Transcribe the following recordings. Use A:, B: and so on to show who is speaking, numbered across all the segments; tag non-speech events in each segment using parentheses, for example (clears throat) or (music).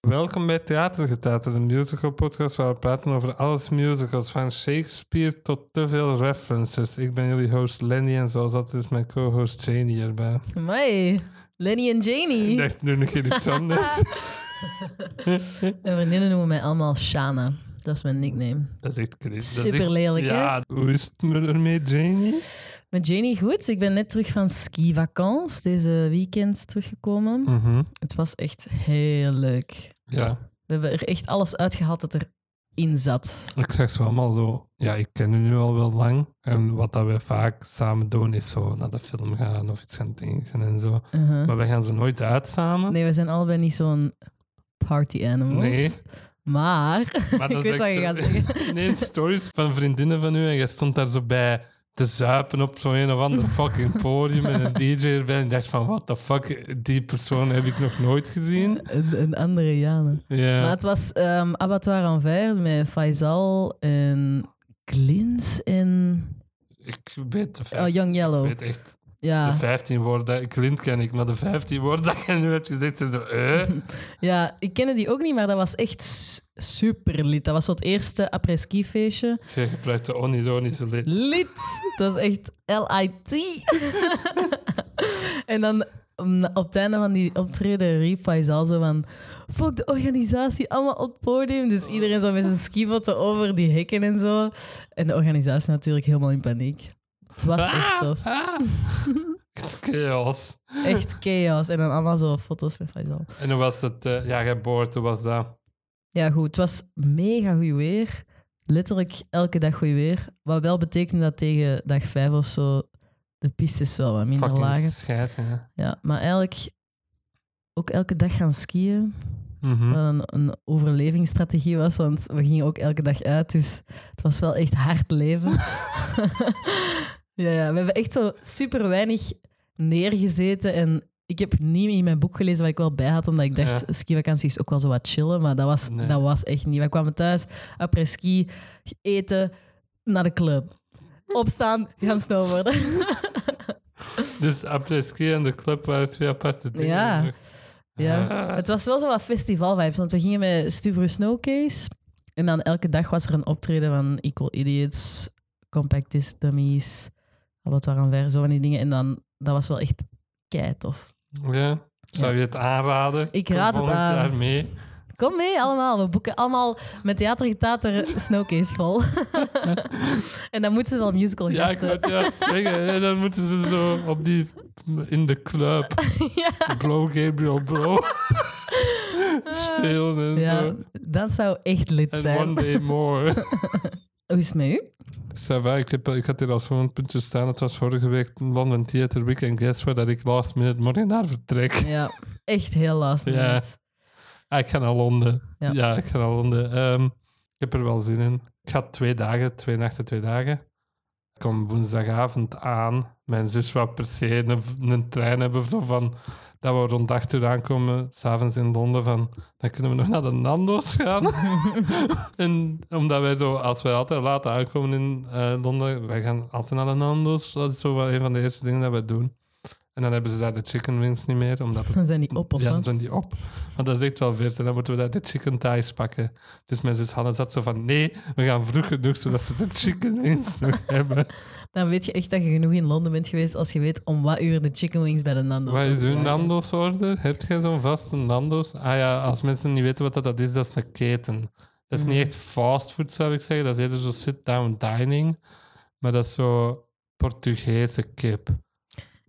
A: Welkom bij Theatergetater, de musical podcast waar we praten over alles musicals, van Shakespeare tot te veel references. Ik ben jullie host Lenny en zoals altijd is mijn co-host Janie erbij.
B: Amai, Lenny en
A: Ik
B: Janie.
A: dacht, nu een keer iets
B: (laughs)
A: anders.
B: Mijn vriendinnen noemen mij allemaal Shana. Dat is mijn nickname.
A: dat is echt crazy. Dat is
B: Super
A: echt-
B: lelijk, hè?
A: Ja, hoe is het me- ermee, Janie?
B: Met Janie goed. Ik ben net terug van ski-vakantie deze weekend teruggekomen.
A: Mhm.
B: Het was echt heel leuk.
A: Ja,
B: We hebben er echt alles uitgehaald dat erin zat.
A: ik zeg zo allemaal zo. Ja, ik ken u nu al wel lang. En wat dat we vaak samen doen is zo naar de film gaan of iets gaan drinken en zo.
B: Uh-huh.
A: Maar wij gaan ze nooit uit samen.
B: Nee, we zijn allebei niet zo'n party animals. (laughs)
A: Nee.
B: Maar,
A: Maar
B: ik
A: dat
B: weet
A: is
B: wat je
A: echt
B: gaat
A: zo- (laughs)
B: zeggen.
A: Nee, stories van vriendinnen van u en jij stond daar zo bij te zuipen op zo'n een of ander fucking podium en een DJ erbij. En ik dacht van, what the fuck, die persoon heb ik nog nooit gezien.
B: Een, een andere Jana.
A: Ja,
B: Maar het was ehm Abattoir en Verde met Faisal en Glins en
A: ik weet de vijf-
B: oh, Ah. Young
A: ik
B: Yellow.
A: weet echt de
B: Ja.
A: 15 woorden. Clint ken ik, maar de 15 woorden dat je nu hebt gezegd, zijn zo,
B: (laughs)
A: eh?
B: ja, ik kende die ook niet, maar dat was echt super lid. Dat was zo het eerste après-ski feestje.
A: Je gebruikt de onironische lid.
B: Lid! Dat was echt L-I-T. (laughs) en dan mm, op het einde van die optreden riep Faisal zo van... Fuck de organisatie, allemaal op het podium. Dus iedereen zo met zijn skibotten over die hekken en zo. En de organisatie natuurlijk helemaal in paniek. Het was echt tof.
A: Ah, (laughs) ah. Chaos.
B: Echt chaos. En dan allemaal zo foto's met Faisal.
A: En hoe was het? eh, ja, geboorte, hoe was dat?
B: Ja, goed. Het was mega goed weer. Letterlijk elke dag goed weer. Wat wel betekende dat tegen dag vijf of zo de pistes wel wat minder
A: Fucking
B: lagen.
A: scheid, ja.
B: Ja, maar eigenlijk ook elke dag gaan skiën.
A: Mhm.
B: Wat een, een overlevingsstrategie was, want we gingen ook elke dag uit. Dus het was wel echt hard
A: (laughs)
B: leven. ja, ja, we hebben echt zo super weinig neergezeten. En ik heb niet in mijn boek gelezen wat ik wel bij had, omdat ik dacht, skivakantie is ook wel zo wat chillen. Maar dat was,
A: Nee.
B: dat was echt niet. We kwamen thuis, après-ski, eten, naar de club. Opstaan, gaan snowboarden.
A: Dus après-ski en de club waren twee aparte dingen.
B: Ja. Ja.
A: Ah.
B: Het was wel zo wat festival-vibes, want we gingen met Stuvro Snowcase. En dan elke dag was er een optreden van Equal Idiots, Compactist Dummies, wat waren ver, zo van die dingen. En dan, dat was wel echt kei tof.
A: Ja. Zou je het aanraden?
B: Ik raad het
A: Volgend
B: aan.
A: jaar mee.
B: Kom mee allemaal, we boeken allemaal met theatergetater
A: (laughs)
B: Snowcase vol. en dan moeten ze wel musical
A: Ja, ik
B: gasten.
A: wou het
B: (laughs)
A: juist zeggen. En dan moeten ze zo op die... In de club.
B: (laughs) Ja.
A: Bro, Gabriel,
B: (laughs)
A: bro. Spelen en
B: Ja,
A: zo.
B: dat zou echt lid
A: En
B: zijn.
A: one day more.
B: Hoe is het met u?
A: (laughs) Ça va, ik, heb, ik had hier al zo'n puntje staan. Het was vorige week London Theatre Week. En guess what? Dat ik last minute morgen daar vertrek.
B: Ja, echt heel last
A: Ja.
B: minute.
A: Ah, ik ga naar Londen. Ja,
B: Ja.
A: ik ga naar Londen. Ehm, ik heb er wel zin in. Ik ga twee dagen, twee nachten, twee dagen. Ik kom woensdagavond aan. Mijn zus wou per se een, een trein hebben. Zo van, dat we rond acht uur aankomen, s'avonds in Londen. Van, dan kunnen we nog naar de Nando's gaan.
B: (laughs)
A: en omdat wij zo, als wij altijd laat aankomen in eh, Londen, wij gaan altijd naar de Nando's. Dat is zo wel een van de eerste dingen dat wij doen. En dan hebben ze daar de chicken wings niet meer, omdat het
B: Dan zijn die op of
A: ja, dan
B: wat?
A: zijn die op. Want dat is echt wel vers. En dan moeten we daar de chicken thighs pakken. Dus mijn zus Hanne zat zo van... Nee, we gaan vroeg genoeg, zodat ze de chicken
B: (laughs)
A: wings nog hebben.
B: Dan weet je echt dat je genoeg in Londen bent geweest als je weet om wat uur de chicken wings bij de Nando's
A: Wat is
B: zijn.
A: uw Nando's-order? Heb jij zo'n vaste Nando's? Ah ja, als mensen niet weten wat dat- dat is, dat is een keten. Dat is
B: Mhm.
A: niet echt fastfood, zou ik zeggen. Dat is eerder zo sit-down dining. Maar dat is zo Portugese kip.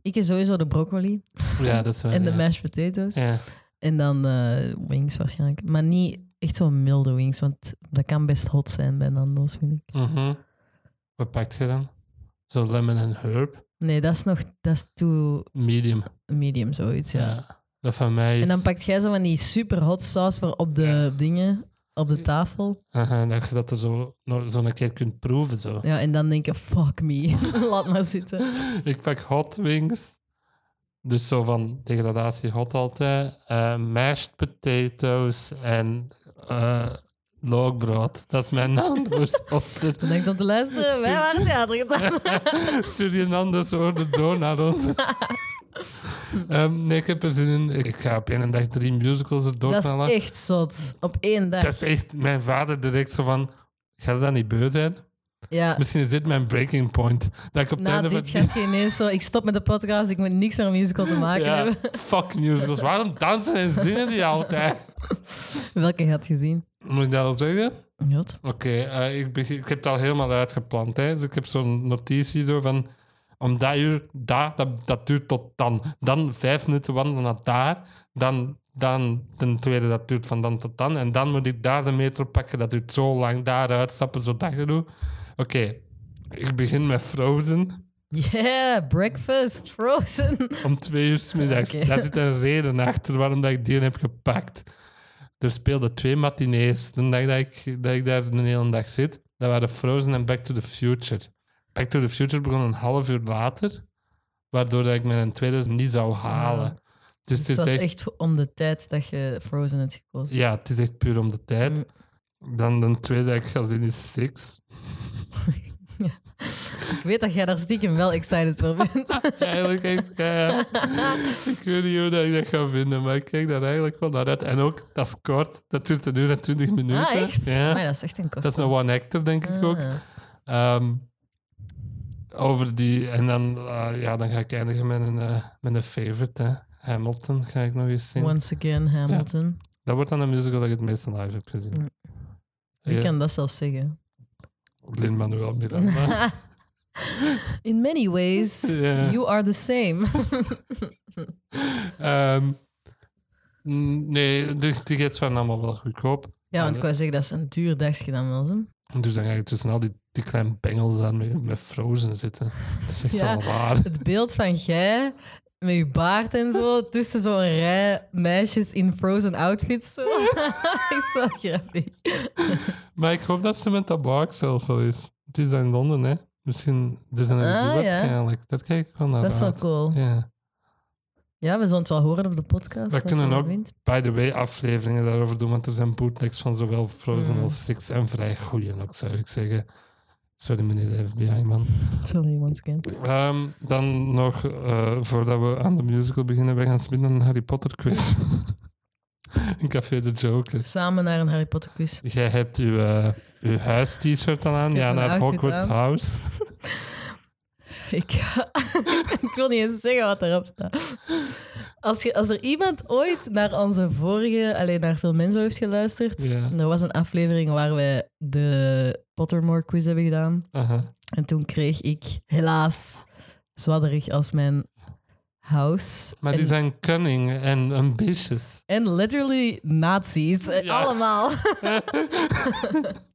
B: Ik is sowieso de broccoli
A: Ja, dat is wel...
B: en de
A: Ah, ja.
B: mashed potatoes.
A: Ja.
B: En dan eh, wings waarschijnlijk. Maar niet echt zo'n milde wings, want dat kan best hot zijn bij Nando's, vind ik.
A: mhm. Wat pakt je dan? Zo lemon and herb?
B: Nee, dat is nog dat is too
A: Medium.
B: medium, zoiets. Ja.
A: Ja. Dat van mij is...
B: En dan pakt jij zo van die super hot saus voor op de
A: Ja.
B: dingen, op de tafel.
A: Aha, en dat je dat er zo, nog zo een keer kunt proeven. Zo.
B: Ja, en dan denk je, fuck me, (laughs) laat maar zitten.
A: (laughs) Ik pak hot wings. Dus zo van degradatie hot altijd. eh, mashed potatoes en eh loogbrood. Dat is mijn
B: (laughs)
A: Nando's order. (laughs)
B: Bedankt om te luisteren, wij waren theatergetaar. (laughs)
A: Stuur je Nando's order door naar ons. Ehm, nee, ik heb er zin in. Ik ga op één dag drie musicals er
B: Dat is
A: doorknallen.
B: echt zot. Op één dag.
A: Dat is echt mijn vader direct zo van... Gaat dat niet beu zijn?
B: Ja.
A: Misschien is dit mijn breaking point. Dat ik op het
B: Na
A: einde van...
B: dit gaat je ineens zo... Ik stop met de podcast, ik moet niks meer een musical te maken
A: ja,
B: hebben.
A: fuck musicals. Waarom dansen en zingen die altijd?
B: Welke gaat gezien?
A: Moet ik dat al zeggen?
B: Jot.
A: Oké, eh, ik, beg- ik heb het al helemaal uitgepland. Hè. Dus ik heb zo'n notitie zo van... Om dat uur, dat, dat, dat duurt tot dan. Dan vijf minuten wandelen naar daar. Dan, dan ten tweede, dat duurt van dan tot dan. En dan moet ik daar de metro pakken. Dat duurt zo lang. Daar uitstappen, zo dat gedoe. Oké, ik begin met Frozen.
B: Yeah, breakfast,
A: (laughs)
B: frozen.
A: Om twee uur 's middags.
B: Oké.
A: Daar zit een reden achter waarom dat ik die heb gepakt. Er speelden twee matinees de dag dat ik, dat ik daar de hele dag zit. Dat waren Frozen en Back to the Future. Back to the Future begon een half uur later, waardoor dat ik mijn tweede niet zou halen. Ah. Dus het
B: Het
A: is
B: was
A: echt,
B: echt om de tijd dat je Frozen hebt gekozen.
A: ja, het is echt Mm. puur om de tijd. Dan de tweede dat ik ga zien is Six.
B: Ik weet dat jij daar stiekem wel excited voor bent.
A: (laughs)
B: Ah,
A: Eigenlijk echt keihard. Ik weet niet hoe dat ik dat ga vinden, maar ik kijk daar eigenlijk wel naar uit. En ook, dat is kort. Dat duurt een uur en twintig minuten.
B: ah, echt?
A: Ja.
B: Maar dat is echt een kort.
A: Dat is nou een one-actor, denk ik ook.
B: Ah.
A: Ehm, over die, en dan, eh, ja, dan ga ik eindigen met een, eh, met een favorite, hè. Hamilton, ga ik nog eens zien.
B: Once again, Hamilton.
A: Dat wordt dan een musical dat ik het meeste live heb gezien.
B: Mm. Wie kan dat zelf
A: (laughs)
B: zeggen?
A: Lin-Manuel Miranda.
B: (laughs) In many ways,
A: Ja.
B: you are the same.
A: Ehm, mm, nee, de tickets waren allemaal wel goedkoop.
B: ja, want
A: Ja.
B: ik wou zeggen, dat is een duur dagje dan wel. zo.
A: Dus dan ga ik tussen al die, die kleine bengels aan met, met Frozen zitten. Dat is echt
B: Ja.
A: wel waar.
B: Het beeld van jij met je baard en zo, tussen zo'n rij meisjes in Frozen outfits. Zo. (laughs) is wel grappig.
A: Maar ik hoop dat Samantha Bark zelfs al is. Het is dan in Londen, hè? Misschien, dus er zijn er
B: Ah,
A: die
B: ja.
A: waarschijnlijk. Dat kijk ik wel naar
B: Dat is wel
A: uit.
B: cool.
A: Ja.
B: Ja, we zullen het wel horen op de podcast. eh,
A: We
B: wat
A: kunnen
B: je
A: ook
B: vindt.
A: by the way afleveringen daarover doen, want er zijn bootlegs van zowel Frozen
B: Mm.
A: als Six en vrij goeie ook, zou ik zeggen. Sorry, meneer de FBI, man.
B: Sorry, once again.
A: Ehm, dan nog, eh, voordat we aan de musical beginnen, wij gaan spelen een Harry Potter quiz. (laughs) in Café de Joker.
B: Samen naar een Harry Potter quiz. (laughs)
A: Jij hebt uw, eh, uw huis-t-shirt al aan,
B: Ik heb
A: ja,
B: een
A: naar
B: outfit
A: Hogwarts
B: aan.
A: House.
B: Ik, (laughs) ik wil niet eens zeggen wat erop staat. Als, je, als er iemand ooit naar onze vorige, alleen naar veel mensen heeft geluisterd,
A: Ja.
B: er was een aflevering waar wij de Pottermore quiz hebben gedaan.
A: Aha.
B: En toen kreeg ik helaas zwadderig als mijn house.
A: Maar
B: en,
A: die zijn cunning en
B: (laughs)
A: ambitious.
B: en literally nazi's. Eh,
A: Ja.
B: Allemaal. (laughs)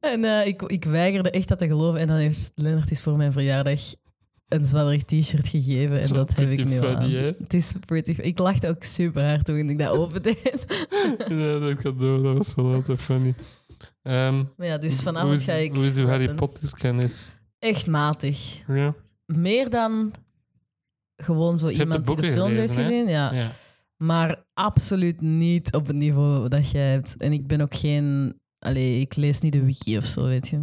B: en eh, ik, ik weigerde echt dat te geloven. En dan heeft Lennart is voor mijn verjaardag een zwadderig t-shirt gegeven. En
A: Zo
B: dat heb ik
A: pretty
B: nu al
A: funny,
B: aan.
A: hè?
B: Het is pretty... Ik lachte ook super hard toen ik dat opendeed.
A: ja, dat kan doen, dat was wel altijd funny. Ehm,
B: (laughs) maar ja, dus
A: hoe
B: vanavond
A: is,
B: ga ik...
A: Hoe is uw Harry
B: een-
A: Potter kennis?
B: Echt matig.
A: Ja.
B: Meer dan gewoon zo
A: hebt de
B: iemand die de
A: boeken
B: film heeft
A: gelezen, hè?
B: gezien. Ja.
A: ja.
B: Maar absoluut niet op het niveau dat jij hebt. En ik ben ook geen. Allee, ik lees niet de wiki of zo, weet je.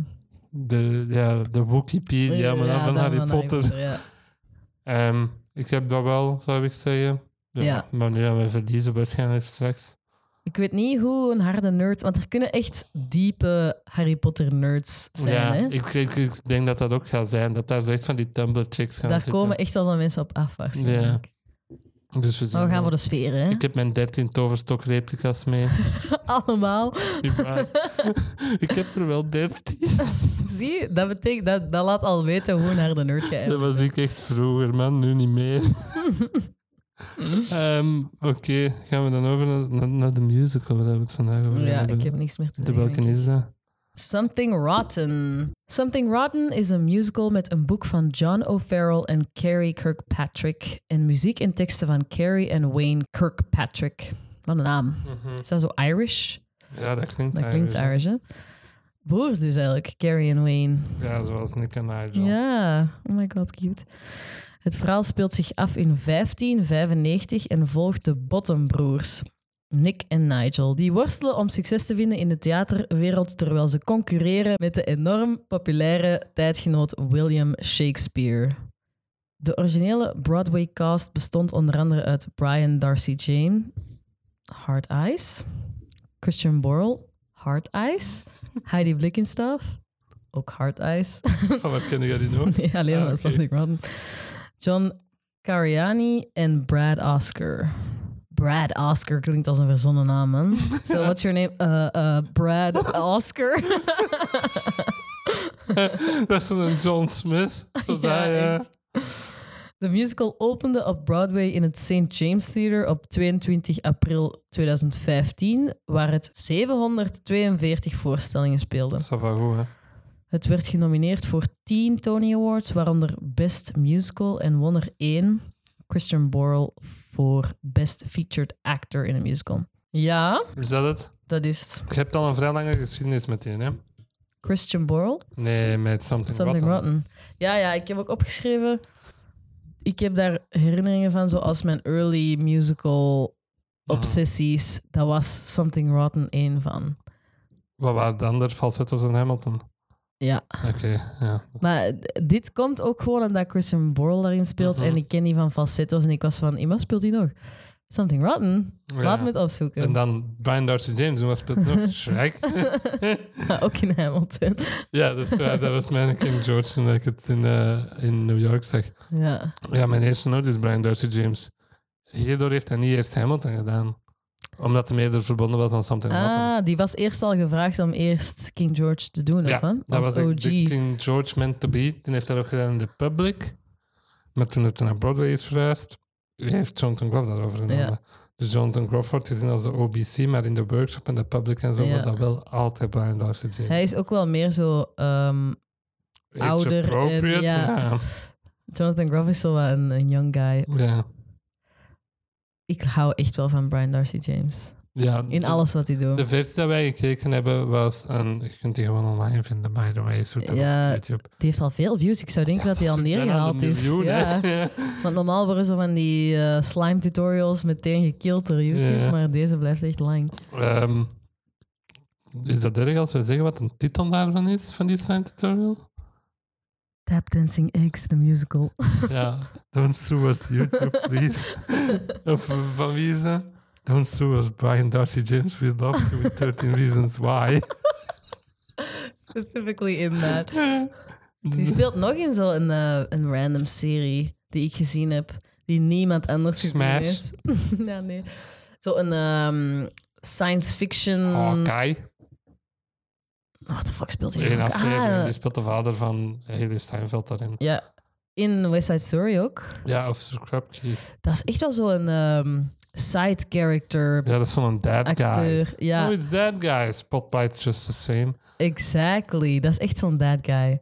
A: De, ja, de Wikipedia, maar dan van
B: dan
A: Harry Potter.
B: ja.
A: Ehm, ik heb dat wel, zou ik zeggen. Ja,
B: Ja.
A: Maar nu gaan we verliezen waarschijnlijk straks.
B: Ik weet niet hoe een harde nerd. Want er kunnen echt diepe Harry Potter nerds zijn.
A: ja,
B: hè?
A: ik, ik, ik denk dat dat ook gaat zijn. Dat daar zo echt van die Tumblr-chicks gaan
B: Daar
A: zitten.
B: komen echt wel wat mensen op af, waarschijnlijk.
A: Dus we zien
B: Maar we Oh, gaan
A: wel.
B: voor de sfeer, hè?
A: Ik heb mijn 13 toverstokreplicas mee.
B: (laughs) Allemaal.
A: Niet waar. ik heb er wel 13.
B: Zie, dat, betekent, dat, dat laat al weten hoe een harde
A: (laughs)
B: nerd jij
A: Dat
B: bent.
A: was ik echt vroeger, man. Nu niet
B: (laughs)
A: meer. Ehm, Oké, gaan we dan over naar, naar, naar de musical waar we het vandaag over
B: Ja,
A: hebben.
B: ik heb niks meer te
A: De
B: zeggen. denk
A: welke
B: ik.
A: is dat?
B: Something Rotten. Something Rotten is een musical met een boek van John O'Farrell en Carrie Kirkpatrick. En muziek en teksten van Carrie en Wayne Kirkpatrick. Wat een naam. Is dat zo Irish?
A: Ja, dat klinkt
B: Dat klinkt
A: Irish, hè.
B: Irish, hè? Broers dus eigenlijk, Carrie en Wayne.
A: Ja, zoals Nick en Nigel.
B: Ja, oh my god, cute. Het verhaal speelt zich af in 1595 en volgt de Bottombroers, Nick en Nigel, die worstelen om succes te vinden in de theaterwereld terwijl ze concurreren met de enorm populaire tijdgenoot William Shakespeare. De originele Broadway-cast bestond onder andere uit Brian Darcy Jane, Hard Eyes, Christian Borle, Hard Eyes, Heidi Blickenstaff, ook Hard Eyes.
A: Van waar kennen jullie die nog? (laughs)
B: (laughs) nee, alleen
A: Ah,
B: maar
A: oké.
B: Something Rotten. John Cariani en Brad Oscar. Brad Oscar klinkt als een verzonnen
A: (laughs)
B: naam, man. So, what's your name? Uh, uh, Brad Oscar. (laughs)
A: dat is een John Smith. Zo daar, ja.
B: echt. De musical opende op Broadway in het St. James Theater op 22 april 2015, waar het 742 voorstellingen speelde.
A: Dat is wel van goed, hè?
B: Het werd genomineerd voor 10 Tony Awards, waaronder Best Musical en won er één, Christian Borle, voor Best Featured Actor in een Musical. Ja,
A: Is dat het?
B: dat is het.
A: Je hebt al een vrij lange geschiedenis met die, hè?
B: Christian Borle,
A: Nee, met Something,
B: Something
A: Rotten.
B: Rotten. Ja, ja, ik heb ook opgeschreven. Ik heb daar herinneringen van, zoals mijn early musical obsessies. Dat was Something Rotten één van.
A: Wat waren de andere falsetto's in Hamilton?
B: Ja.
A: Oké, ja.
B: Maar d- dit komt ook gewoon omdat Christian Borle daarin speelt.
A: Mhm.
B: En ik ken die van falsettos. En ik was van, iemand speelt die nog? Something Rotten?
A: Ja.
B: Laat me het opzoeken. (laughs)
A: En dan Brian Darcy James, en wat speelt hij nog? Shrek?
B: Maar ook in Hamilton.
A: ja, dat, is waar. dat was mijn King George toen ik het in, eh, in New York zag.
B: ja.
A: Ja, mijn eerste noot is Brian Darcy James. Hierdoor heeft hij niet eerst Hamilton gedaan. Omdat hij eerder verbonden was aan Something Rotten.
B: Ah, die was eerst al gevraagd om eerst King George te doen, of
A: Ja,
B: wat?
A: dat
B: Als
A: was echt
B: OG.
A: de King George meant to be. Die heeft dat ook gedaan in The Public. Maar toen het naar Broadway is verhuisd, heeft Jonathan Groff dat overgenomen.
B: Ja.
A: Dus Jonathan Groff wordt gezien als de OBC, maar in de workshop en de Public en zo
B: Ja.
A: was dat wel altijd Brian Darcy James.
B: Hij is ook wel meer zo... ehm,
A: Age
B: ouder en-
A: appropriate,
B: ja.
A: ja.
B: Jonathan Groff is zo wat een, een young guy.
A: ja.
B: Ik hou echt wel van Brian Darcy James.
A: Ja,
B: In
A: de-
B: alles wat hij doet.
A: De versie die wij gekeken hebben was, en je kunt die gewoon online vinden, by the way, zoek dat
B: Ja,
A: op YouTube.
B: Die heeft al veel views. Ik zou denken
A: (laughs)
B: dat hij al
A: Bijna een
B: neergehaald is.
A: miljoen, hè. (laughs)
B: ja. Want normaal worden zo van die eh, slime tutorials meteen gekild door YouTube,
A: Ja.
B: maar deze blijft echt lang.
A: Ehm, is dat erg als we zeggen wat een titel daarvan is, van die slime tutorial?
B: Tap Dancing X, the musical.
A: ja, don't sue us YouTube, please. (laughs) of eh, van wie is dat? Don't sue us, Brian Darcy James, we love you with 13 reasons (laughs) why.
B: (laughs) Specifically in that. Die
A: Mm.
B: speelt nog in zo'n eh, een random serie die ik gezien heb, die niemand anders gezien
A: Smash.
B: heeft. (laughs) ja, nee. Zo'n ehm, science fiction...
A: Hawkeye,
B: What the fuck speelt hij
A: één
B: ook?
A: aflevering, dus-
B: Ah,
A: die speelt de vader van Haley Steinfeld daarin.
B: Ja, in West Side Story ook.
A: Ja, of Scrubkey.
B: Dat is echt wel zo'n ehm, side character
A: Ja, dat is zo'n dead guy.
B: acteur. Ja,
A: Oh, it's that guy. Spotlight's just the same.
B: exactly. Dat is echt zo'n bad guy.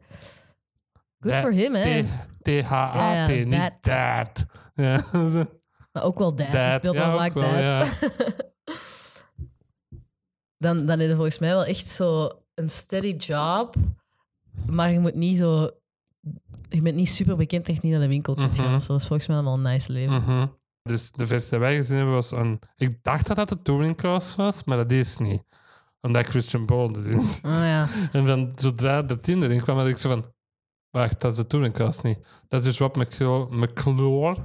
B: Good
A: That
B: for him, hè?
A: T- T-H-A-T,
B: Ja, ja,
A: niet that. Ja. (laughs)
B: Maar ook wel dad.
A: Dad,
B: Hij speelt
A: ja,
B: al
A: ook
B: vaak
A: wel,
B: dad.
A: ja.
B: (laughs) dan, dan is het volgens mij wel echt zo een steady job. Maar je moet niet zo... Je bent niet super bekend echt niet naar de winkel kunt gaan.
A: Mhm.
B: of zo. Dat is volgens mij allemaal een nice leven.
A: Mhm. Dus de versie die wij gezien hebben was een... Ik dacht dat dat de Touring Cross was, maar dat is niet. Omdat Christian Bale erin is.
B: Oh ja.
A: En dan, zodra de tien erin kwam, had ik zo van... Wacht, dat is de Touring Cross niet. Dat is Rob McClo- McClure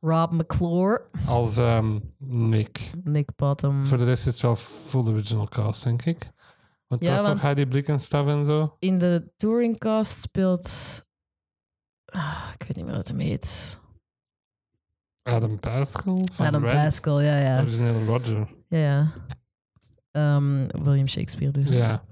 B: Rob McClure.
A: als ehm, Nick.
B: Nick Bottom.
A: Voor de rest is het wel full original cast, denk ik. Want
B: Ja,
A: dat was nog
B: want-
A: Heidi Blickenstaff en zo.
B: in de touringcast speelt. Ah, ik weet niet meer wat hem heet.
A: Adam Pascal van
B: Adam
A: Red,
B: Pascal, ja, ja.
A: origineel Roger.
B: ja, ja. Ehm, William Shakespeare dus.
A: Ja.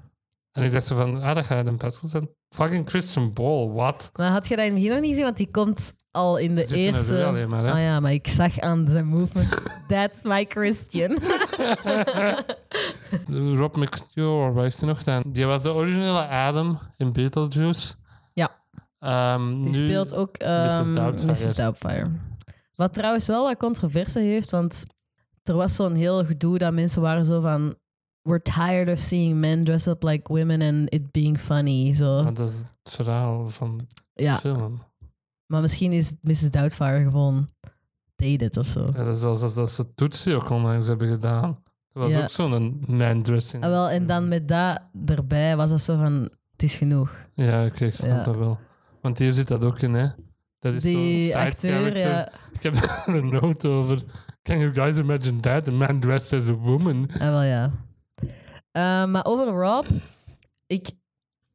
A: En ik dacht zo van, ah, dat gaat Adam Pascal zijn. Fucking Christian Ball, wat?
B: Maar had je dat in het begin nog niet gezien? Want die komt al in de
A: Zit in een
B: eerste.
A: reel alleen maar, hè?
B: Ah ja, maar ik zag aan zijn movement. That's my
A: (laughs)
B: Christian. (laughs)
A: Rob McClure, wat heeft hij nog gedaan? Die was de originele Adam in Beetlejuice.
B: Ja.
A: Ehm,
B: Die
A: nu-
B: speelt ook ehm,
A: Mrs. Doubtfire.
B: Mrs. Doubtfire. Wat trouwens wel wat controverse heeft, want er was zo'n heel gedoe dat mensen waren zo van... We're tired of seeing men dress up like women and it being funny. Zo.
A: Maar Ah, dat is het verhaal van de
B: Ja,
A: film.
B: maar misschien is Mrs. Doubtfire gewoon dated of zo.
A: Ja, dat is zoals dat, dat ze Tootsie ook onlangs hebben gedaan. Dat was
B: Ja.
A: ook zo'n man-dressing.
B: Ah, wel, en
A: mm.
B: dan met dat erbij was dat zo van... Het is genoeg.
A: Ja, oké, ik snap
B: Ja.
A: dat wel. Want hier zit dat ook in, hè. Dat is zo'n
B: Die
A: side
B: acteur, eh,
A: character.
B: ja.
A: Ik heb (laughs) daar een note over. Can you guys imagine that? A man dressed as a woman.
B: Ah, wel ja. Eh, maar over Rob, ik,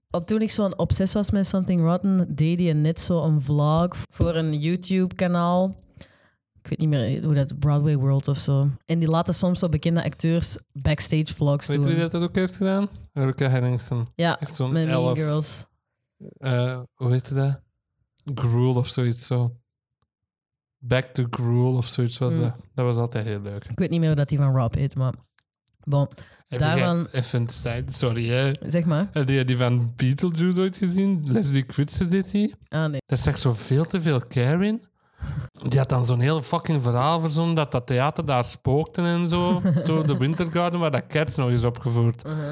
B: al toen ik zo'n obsess was met Something Rotten, deed hij net zo'n vlog voor een YouTube-kanaal. Ik weet niet meer hoe dat, Broadway World of zo. En die laten soms zo bekende acteurs backstage vlogs
A: Weet je wie
B: doen.
A: dat ook heeft gedaan? Rebecca Henningsen.
B: Ja,
A: Echt zo'n
B: met Mean
A: elf.
B: Girls.
A: eh, hoe heet dat? Gruel of zoiets zo. Back to Gruel of zoiets was
B: Mm.
A: dat. Dat was altijd heel leuk.
B: Ik weet niet meer hoe dat die van Rob heet, maar... Bon,
A: Heb
B: Daarvan-
A: jij even een side, sorry hè.
B: zeg maar.
A: Heb jij die van Beetlejuice ooit gezien? Leslie Kritzer deed die.
B: Ah, nee.
A: Daar zag zo veel te veel care in. Die had dan zo'n heel fucking verhaal verzonnen dat dat theater daar spookte en
B: (laughs)
A: zo. zo de Wintergarden, waar dat Cats nog is opgevoerd.
B: Uh-huh.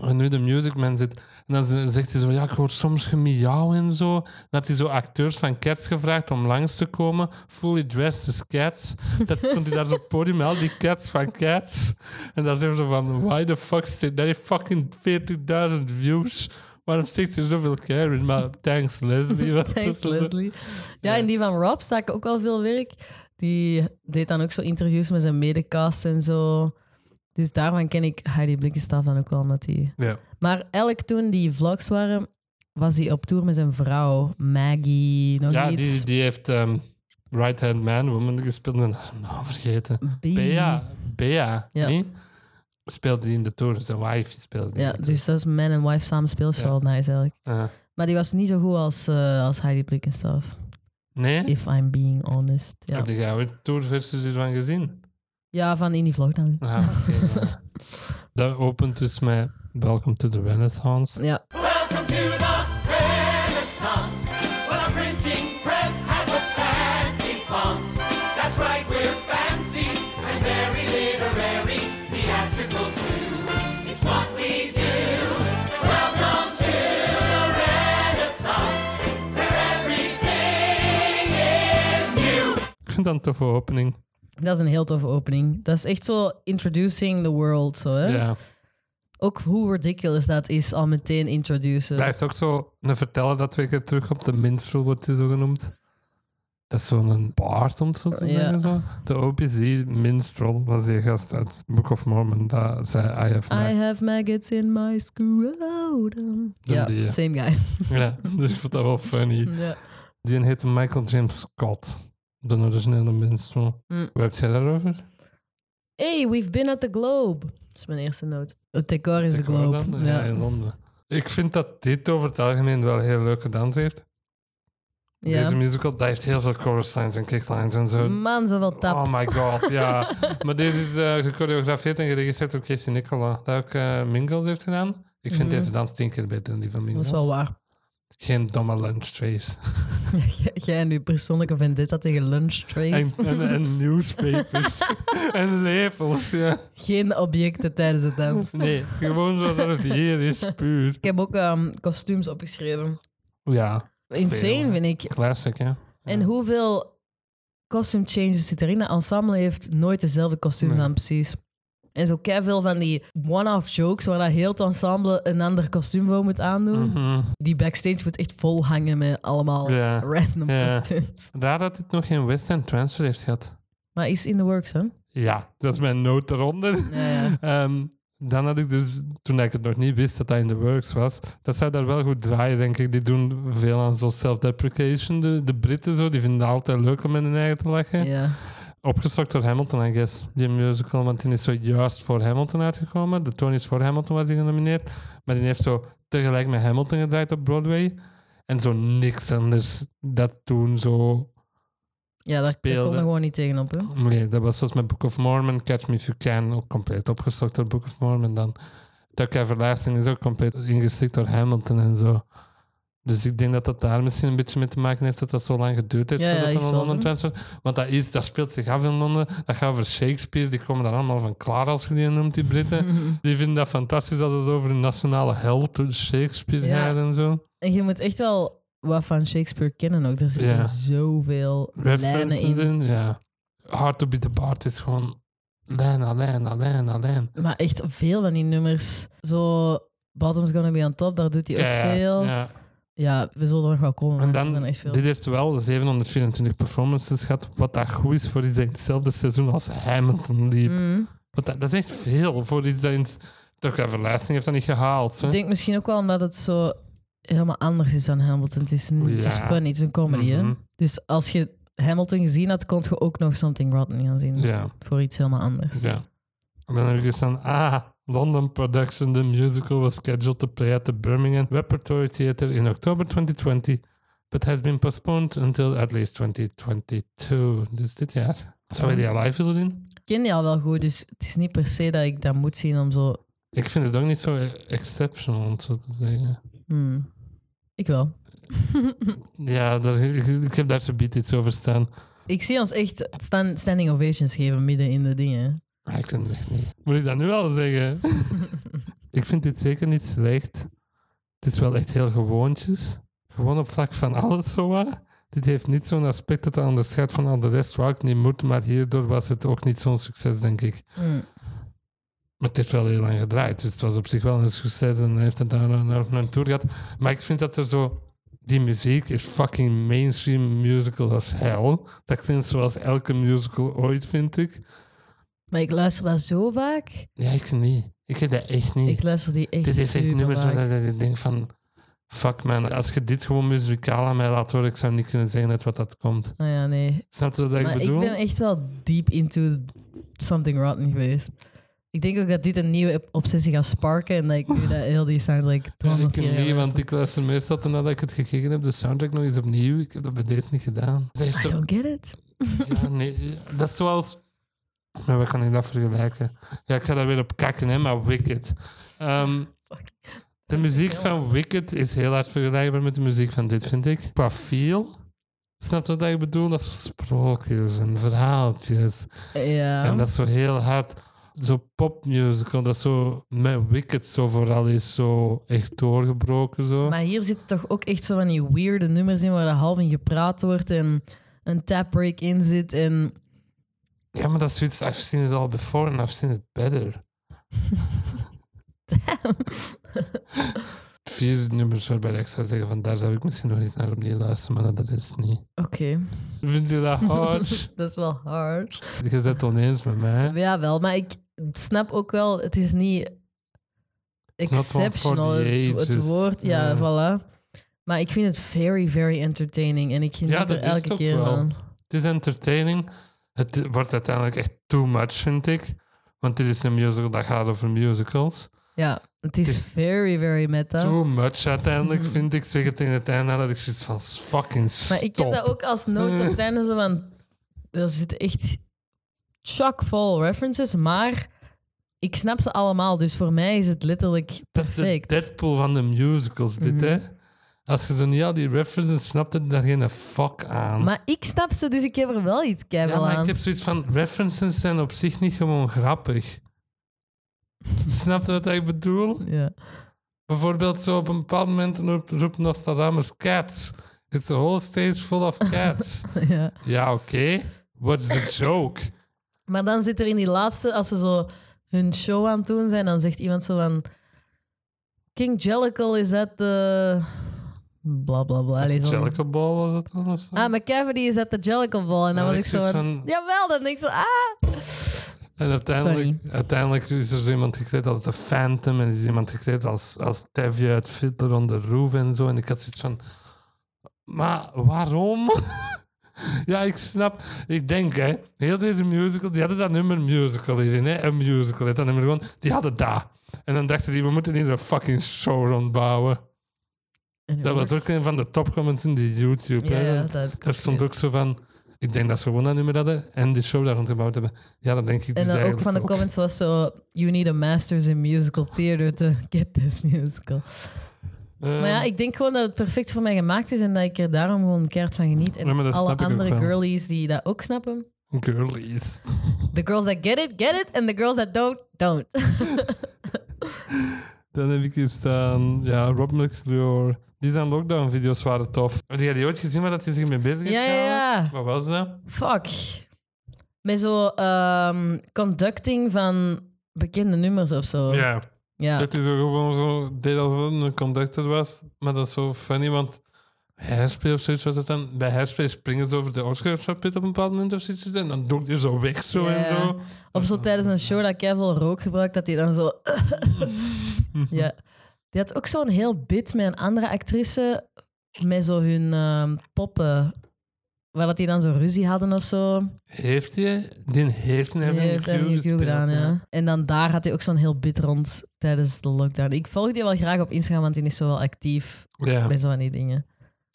A: En nu de Music Man zit. En dan z- zegt hij zo, ja, ik hoor soms gemiauw en zo. En had hij zo acteurs van Cats gevraagd om langs te komen. Fully dressed as Cats. Dat stond hij daar zo op het podium, al die Cats van Cats. En dan zeggen ze van, why the fuck stick? Dat heeft fucking 40.000 views. Waarom steekt hij zoveel care in? Maar thanks
B: (laughs)
A: Leslie. (laughs) was
B: Thanks,
A: het.
B: Leslie. Ja,
A: Ja.
B: en die van Rob staat ook wel veel werk. Die deed dan ook zo interviews met zijn medecast en zo. Dus daarvan ken ik Heidi Blikkenstaaf dan ook wel. Omdat die...
A: Ja.
B: Maar elk toen die vlogs waren, was hij op tour met zijn vrouw, Maggie, nog
A: Ja,
B: iets.
A: die, die heeft ehm, Right Hand Man, Woman gespeeld. En haar naam nou vergeten.
B: Bea.
A: Bea. Bea.
B: Ja.
A: niet? Speelde die in de tour. Zijn wife speelde die
B: Ja,
A: in de
B: dus dat is man en wife samen speelt is
A: Ja.
B: wel nice eigenlijk.
A: tour. Ah. Ja.
B: Maar die was niet zo goed als, eh, als Heidi Blikkenstaaf.
A: nee?
B: If I'm being honest. Ja,
A: Heb je daar ooit tourversies hiervan gezien?
B: ja van in die vlog dan.
A: Ah, oké,
B: (laughs)
A: ja. Dat opent dus met Welcome to the Renaissance.
B: Ja,
C: Welcome to the Renaissance, where the printing press has the fancy fonts. That's right, we're fancy and very literary, theatrical too. It's what we do. Welcome to the Renaissance, where everything is new.
A: Ik vind dat een toffe opening.
B: dat is een heel toffe opening. Dat is echt zo introducing the world, zo hè.
A: Ja.
B: Ook hoe ridiculous dat is al meteen introducen.
A: Blijft ook zo een verteller dat twee keer terug op de minstrel wordt hij zo genoemd. Dat is zo'n baard, om het zo te
B: Ja.
A: zeggen. Zo. De OPC minstrel was die gast uit Book of Mormon. Dat zei I have
B: I
A: my...
B: have maggots in my scrotum. Ja,
A: die, ja.
B: same guy.
A: Ja, dus ik vond dat wel funny.
B: (laughs) ja.
A: Die heette Michael James Scott. De originele minstrel.
B: Mm.
A: Waar heb jij daarover?
B: Hey, we've been at the Globe. Dat is mijn eerste noot. Het decor is de
A: Ik hoor
B: Globe.
A: dat,
B: ja.
A: Ja, in Londen. Ik vind dat dit over het algemeen wel heel leuke dans heeft.
B: Ja. Mm,
A: Deze musical, dat heeft heel veel chorus lines en kicklines en zo.
B: Man, zoveel tap. (laughs)
A: Oh my god, ja. maar deze is eh, gechoreografeerd en geregisseerd door Casey Nicola, dat ook eh, Mingles heeft gedaan. Ik vind
B: Mhm.
A: deze dans tien keer beter dan die van
B: dat
A: Mingles.
B: is wel waar.
A: Geen domme lunch trays.
B: (laughs) Jij- Jij en uw persoonlijke vendetta tegen lunch trays.
A: En, en,
B: (laughs)
A: en newspapers. (laughs) en lepels, ja.
B: Geen objecten tijdens het
A: (laughs)
B: dans.
A: Nee, gewoon zoals het hier is, puur.
B: Ik heb ook ehm, kostuums opgeschreven.
A: Ja, Veel,
B: Insane
A: hè.
B: vind ik.
A: classic, hè?
B: En hoeveel costume changes zit erin? Dat ensemble heeft nooit dezelfde kostuum
A: Nee.
B: aan, precies. En zo veel van die one-off jokes waar dat heel het ensemble een ander kostuum voor moet aandoen.
A: Mhm.
B: Die backstage moet echt vol hangen met allemaal
A: Oh, Ja.
B: random
A: Ja.
B: kostuums.
A: Raar dat dit nog geen West End Transfer heeft gehad.
B: Maar is in the works, hè?
A: Ja, dat is mijn noot eronder. (laughs)
B: Ja, ja.
A: Ehm, dan had ik dus, toen ik het nog niet wist dat dat in de works was, dat zij daar wel goed draaien, denk ik. Die doen veel aan zo'n self-deprecation. De, de Britten zo, die vinden het altijd leuk om met hun eigen te lachen.
B: ja.
A: Opgestokt door Hamilton, I guess. Die musical, want die is zojuist voor Hamilton uitgekomen. De Tony's voor Hamilton was die genomineerd. Maar die heeft zo tegelijk met Hamilton gedraaid op Broadway. En zo niks anders dat toen zo
B: Ja, daar, daar
A: Speelde.
B: kom je gewoon niet tegenop, hè?
A: Nee, dat was zoals met Book of Mormon, Catch Me If You Can, ook compleet opgestokt door Book of Mormon. Dan Tuck Everlasting is ook compleet ingestikt door Hamilton en zo. Dus ik denk dat dat daar misschien een beetje mee te maken heeft dat dat zo lang geduurd heeft
B: Ja, ja,
A: voordat
B: is
A: dat
B: wel
A: een Londen
B: zo.
A: transfer. Want dat, is, dat speelt zich af in Londen. Dat gaat over Shakespeare. Die komen daar allemaal van klaar, als je die noemt, die
B: (laughs)
A: Britten. Die vinden dat fantastisch dat het over een nationale held door Shakespeare
B: Ja.
A: gaat en zo.
B: En je moet echt wel wat van Shakespeare kennen ook. Er zitten
A: Ja.
B: zoveel lijnen
A: References
B: in.
A: in. Ja. Hard to be the Bard is gewoon lijn, aan lijn, aan lijn, aan lijn.
B: Maar echt veel van die nummers. Zo, Bottom's Gonna Be On Top, daar doet hij ook
A: Keihard,
B: veel.
A: Ja.
B: Ja, we zullen er nog wel komen.
A: En
B: want er
A: dan,
B: zijn echt veel.
A: dit heeft wel 724 performances gehad, wat dat goed is voor iets dat in hetzelfde seizoen als Hamilton liep.
B: Mm.
A: Want dat, dat is echt veel voor iets dat in het- toch een verleiding heeft dat niet gehaald. Hè?
B: Ik denk misschien ook wel omdat het zo helemaal anders is dan Hamilton. Het is, een- het is
A: Ja.
B: funny, het is een comedy.
A: Mhm.
B: hè? Dus als je Hamilton gezien had, kon je ook nog Something Rotten gaan zien.
A: Ja,
B: Voor iets helemaal anders.
A: ja. En dan heb ik gestaan, ah, London Production, the musical was scheduled to play at the Birmingham Repertory Theatre in October 2020, but has been postponed until at least 2022. Dus dit jaar. Zou je die al live willen zien?
B: Ik ken die al wel goed, dus het is niet per se dat ik dat moet zien om zo...
A: Ik vind het ook niet zo exceptional, om het zo te zeggen.
B: Hmm. Ik wel.
A: Ja, dat, ik, ik heb daar zo biedt iets over staan.
B: Ik zie ons echt stan- standing ovations geven midden in de dingen.
A: Ah, ik kan het echt niet. Moet ik dat nu al zeggen? ik vind dit zeker niet slecht. Dit is wel echt heel gewoontjes. Gewoon op vlak van alles zo wat. Dit heeft niet zo'n aspect dat dat onderscheidt van al de rest waar ik niet moet, maar hierdoor was het ook niet zo'n succes, denk ik.
B: Hmm.
A: Maar het heeft wel heel lang gedraaid, dus het was op zich wel een succes en hij heeft het daar naar- naar naar toe gehad. Maar ik vind dat er zo... Die muziek is fucking mainstream musical als hell. Dat klinkt zoals elke musical ooit, vind ik.
B: Maar ik luister dat zo vaak.
A: Ja, ik niet. Ik heb dat echt niet.
B: Ik luister die echt
A: dit is echt nummers waar
B: supervaak.
A: dat ik denk van... Fuck man, als je dit gewoon muzikaal aan mij laat horen, ik zou niet kunnen zeggen uit wat dat komt.
B: Ah ja, nee.
A: Snap je wat ik
B: maar
A: bedoel?
B: ik ben echt wel deep into Something Rotten geweest. Ik denk ook dat dit een nieuwe obsessie gaat sparken en dat ik
A: (laughs)
B: nu dat heel die soundtrack
A: Ja,
B: 300
A: ik
B: keer ga
A: niet, want
B: luisteren.
A: ik luister meestal toen nadat ik het gekeken heb, de soundtrack nog eens opnieuw. Ik heb dat bij deze niet gedaan. Dat heeft
B: I
A: zo-
B: don't get it.
A: Ja, nee, dat is zoals... Maar we gaan dat vergelijken. Ja, ik ga daar weer op kakken, hè, maar Wicked. Ehm,
B: Fuck.
A: de muziek van Wicked is heel hard vergelijkbaar met de muziek van dit, vind ik. Qua feel... Snap je wat ik bedoel? Dat is sprookjes en verhaaltjes.
B: Ja.
A: En dat is zo heel hard. Zo popmusical, dat zo met Wicked zo vooral is zo echt doorgebroken. Zo.
B: Maar hier zitten toch ook echt zo van die weirde nummers in waar er half in gepraat wordt en een tap break in zit en...
A: Ja, maar dat is zoiets, I've seen it all before and I've seen it
B: (laughs)
A: better. (laughs) Vier nummers waarbij ik zou zeggen, van daar zou ik misschien nog eens naar opnieuw luisteren, maar dat is niet.
B: Oké,
A: Vind je
B: (laughs)
A: dat hard?
B: dat is wel hard.
A: je bent het oneens met mij.
B: Ja, wel, maar ik snap ook wel, het is niet
A: It's not one for
B: exceptional.
A: the
B: Het, het
A: ages.
B: woord, ja,
A: Ja.
B: voilà. Maar ik vind het very, very entertaining en ik geniet
A: Ja, dat is
B: er
A: het
B: elke
A: ook
B: keer
A: wel.
B: van.
A: Het is entertaining. Het wordt uiteindelijk echt too much, vind ik. Want dit is een musical dat gaat over musicals.
B: Ja, het is
A: Het is
B: very, very meta.
A: Too much
B: (laughs)
A: uiteindelijk, vind ik. Zeg het in het einde dat ik zoiets van fucking stop.
B: Maar ik heb dat ook als notes op het einde zo van... Er zitten echt chock vol references, maar ik snap ze allemaal. Dus voor mij is het letterlijk
A: Dat is de
B: perfect.
A: Deadpool van de musicals, dit
B: Mhm.
A: hè. Als je zo niet al die references snapt, dan daar geen fuck aan.
B: Maar ik snap ze, dus ik heb er wel iets
A: ja,
B: keihard
A: maar
B: aan.
A: ik heb zoiets van, references zijn op zich niet gewoon grappig.
B: (laughs)
A: Snap je wat ik bedoel?
B: Ja. (laughs)
A: Bijvoorbeeld zo op een bepaald moment roept, roept Nostradamus cats. It's a whole stage full of
B: (laughs)
A: cats.
B: ja.
A: ja, oké. What's the joke?
B: Maar dan zit er in die laatste, als ze zo hun show aan het doen zijn, dan zegt iemand zo van... King Jellicle is at the... Bla, bla, bla. Allee, zo'n-
A: Jellicle Ball was dat dan of zo?
B: Ah, McCavity is at the Jellicle Ball. En dan
A: Ja,
B: was
A: Ah, ik
B: ik zo
A: zoiets
B: van...
A: van-
B: Jawel, dan denk ik zo... Ah!
A: En uiteindelijk, uiteindelijk is er zo iemand gekleed als de Phantom en is iemand gekleed als, als Tevye uit Fiddler on the Roof en zo. En ik had zoiets van, maar waarom? (laughs) ja, ik snap. Ik denk, hè, heel deze musical, die hadden dat nummer musical hierin, hè, een musical. hè, Dat nummer gewoon, die hadden dat. En dan dachten die, we moeten hier een fucking show rondbouwen.
B: En het
A: Dat was
B: wordt-
A: ook een van de topcomments in die YouTube.
B: Ja,
A: hè.
B: ja, dat heb ik
A: Daar stond ook zo van, ik denk dat ze gewoon dat nummer hadden en die show daar rond gebouwd hebben. Ja, dat denk ik
B: En
A: dus
B: dan ook
A: eigenlijk
B: van de comments was zo... You need a master's in musical theater to get this musical.
A: Eh,
B: Maar ja, ik denk gewoon dat het perfect voor mij gemaakt is en dat ik er daarom gewoon keihard van geniet. En
A: Ja, maar dat
B: alle
A: snap ik ook
B: andere
A: wel.
B: girlies die dat ook snappen...
A: Girlies.
B: The girls that get it, get it. And the girls that don't, don't.
A: Dan heb ik hier staan, ja, Rob McClure. Die zijn lockdown-video's waren tof. Heb jij die ooit gezien waar dat hij zich mee bezig heeft
B: ja, ja,
A: gehouden? Wat
B: ja.
A: was dat?
B: Fuck. Met zo ehm, conducting van bekende nummers of zo.
A: Ja,
B: Ja,
A: Dit is ook gewoon zo, deed alsof het een conductor was, maar dat is zo funny, want Hairspray of zoiets was het dan. Bij Hairspray springen ze over de Oscar-chapit op een bepaald moment of zoiets, en dan doet hij zo weg zo
B: Ja.
A: en zo.
B: Of zo tijdens een show dat ik veel rook gebruikt, dat hij dan zo. (laughs) ja. Die had ook zo'n heel bit met een andere actrice. Met zo hun ehm, poppen. Waar dat die dan zo ruzie hadden of zo.
A: Heeft hij, die heeft een
B: Die
A: Avenue
B: heeft
A: Q
B: Avenue Q
A: gespeeld,
B: gedaan,
A: ja.
B: ja. En dan daar had hij ook zo'n heel bit rond tijdens de lockdown. Ik volg die wel graag op Instagram, want die is zo wel actief
A: Ja,
B: bij zo van die dingen.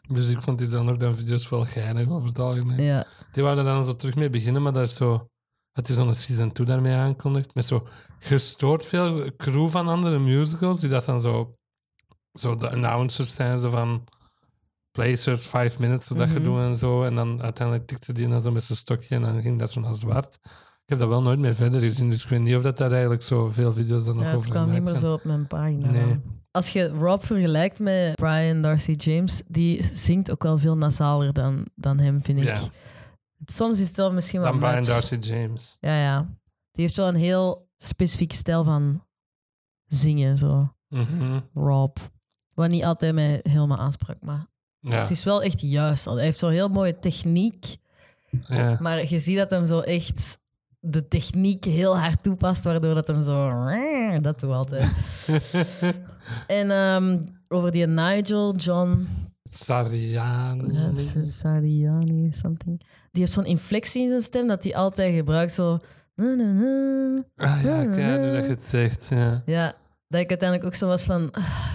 A: dus ik vond die dan ook dan video's wel geinig over het algemeen.
B: Ja.
A: Die waren daar dan zo terug mee beginnen, maar daar is zo... Het is een season 2 daarmee aankondigd. Met zo gestoord veel crew van andere musicals, die dat dan zo... Zo de announcers zijn, zo van... Placers, 5 minutes, zo dat
B: Mhm.
A: gedoe en zo. En dan uiteindelijk tikte die dan zo met zijn stokje en dan ging dat zo naar zwart. Ik heb dat wel nooit meer verder gezien, dus ik weet niet of dat daar eigenlijk zo veel video's dan nog
B: Ja, het
A: over
B: kwam niet
A: gemaakt
B: meer
A: zijn.
B: zo op mijn pagina.
A: Nee.
B: Als je Rob vergelijkt met Brian Darcy James, die zingt ook wel veel nasaler dan, dan hem, vind ik.
A: Ja.
B: Soms is het wel misschien wat
A: Dan Brian
B: match.
A: Darcy James.
B: Ja, ja. Die heeft wel een heel specifiek stijl van zingen, zo.
A: Mhm.
B: Rob. Wat niet altijd mij helemaal aansprak, maar
A: Ja,
B: het is wel echt juist. Hij heeft zo'n heel mooie techniek,
A: ja.
B: maar je ziet dat hem zo echt de techniek heel hard toepast, waardoor dat hem zo... (laughs) Dat doet
A: (laughs)
B: altijd. En ehm, over die Nigel, John
A: Sarian.
B: Cesariani, something. Die heeft zo'n inflectie in zijn stem dat hij altijd gebruikt, zo... na, na, na.
A: Ah ja, ik ja, nu dat je het zegt, ja.
B: Ja, dat ik uiteindelijk ook zo was van... ah,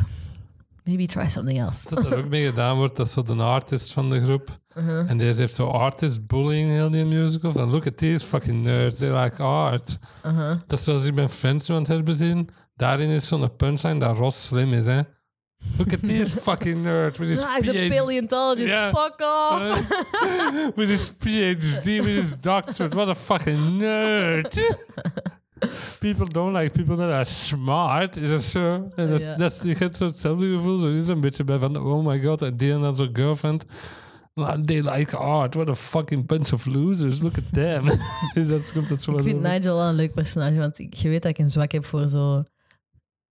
B: maybe try something else.
A: dat er ook mee gedaan wordt, dat is zo de artist van de groep.
B: Uh-huh.
A: En deze heeft zo artist bullying, heel die musical. Van look at these fucking nerds, they like art.
B: Uh-huh.
A: Dat is zoals ik ben Friends nu aan het herbezien. Daarin is zo'n punchline dat Ross slim is, hè. Look at these fucking nerds with his
B: Ah, he's a
A: PhD.
B: paleontologist.
A: Ja. Uh-huh.
B: Fuck off.
A: (laughs) with his PhD, with his doctorate. What a fucking nerd. People don't like people that are smart. Is dat zo? En dat,
B: Ja.
A: dat is- je hebt zo hetzelfde gevoel. Zo is een beetje bij van, oh my god, en die en dan zo'n girlfriend. Well, They like art. What a fucking bunch of losers. Look at them. (laughs) Is dat, komt dat zo
B: Ik
A: wel
B: vind
A: over?
B: Nigel wel een leuk personage, want ik, je weet dat ik een zwak heb voor zo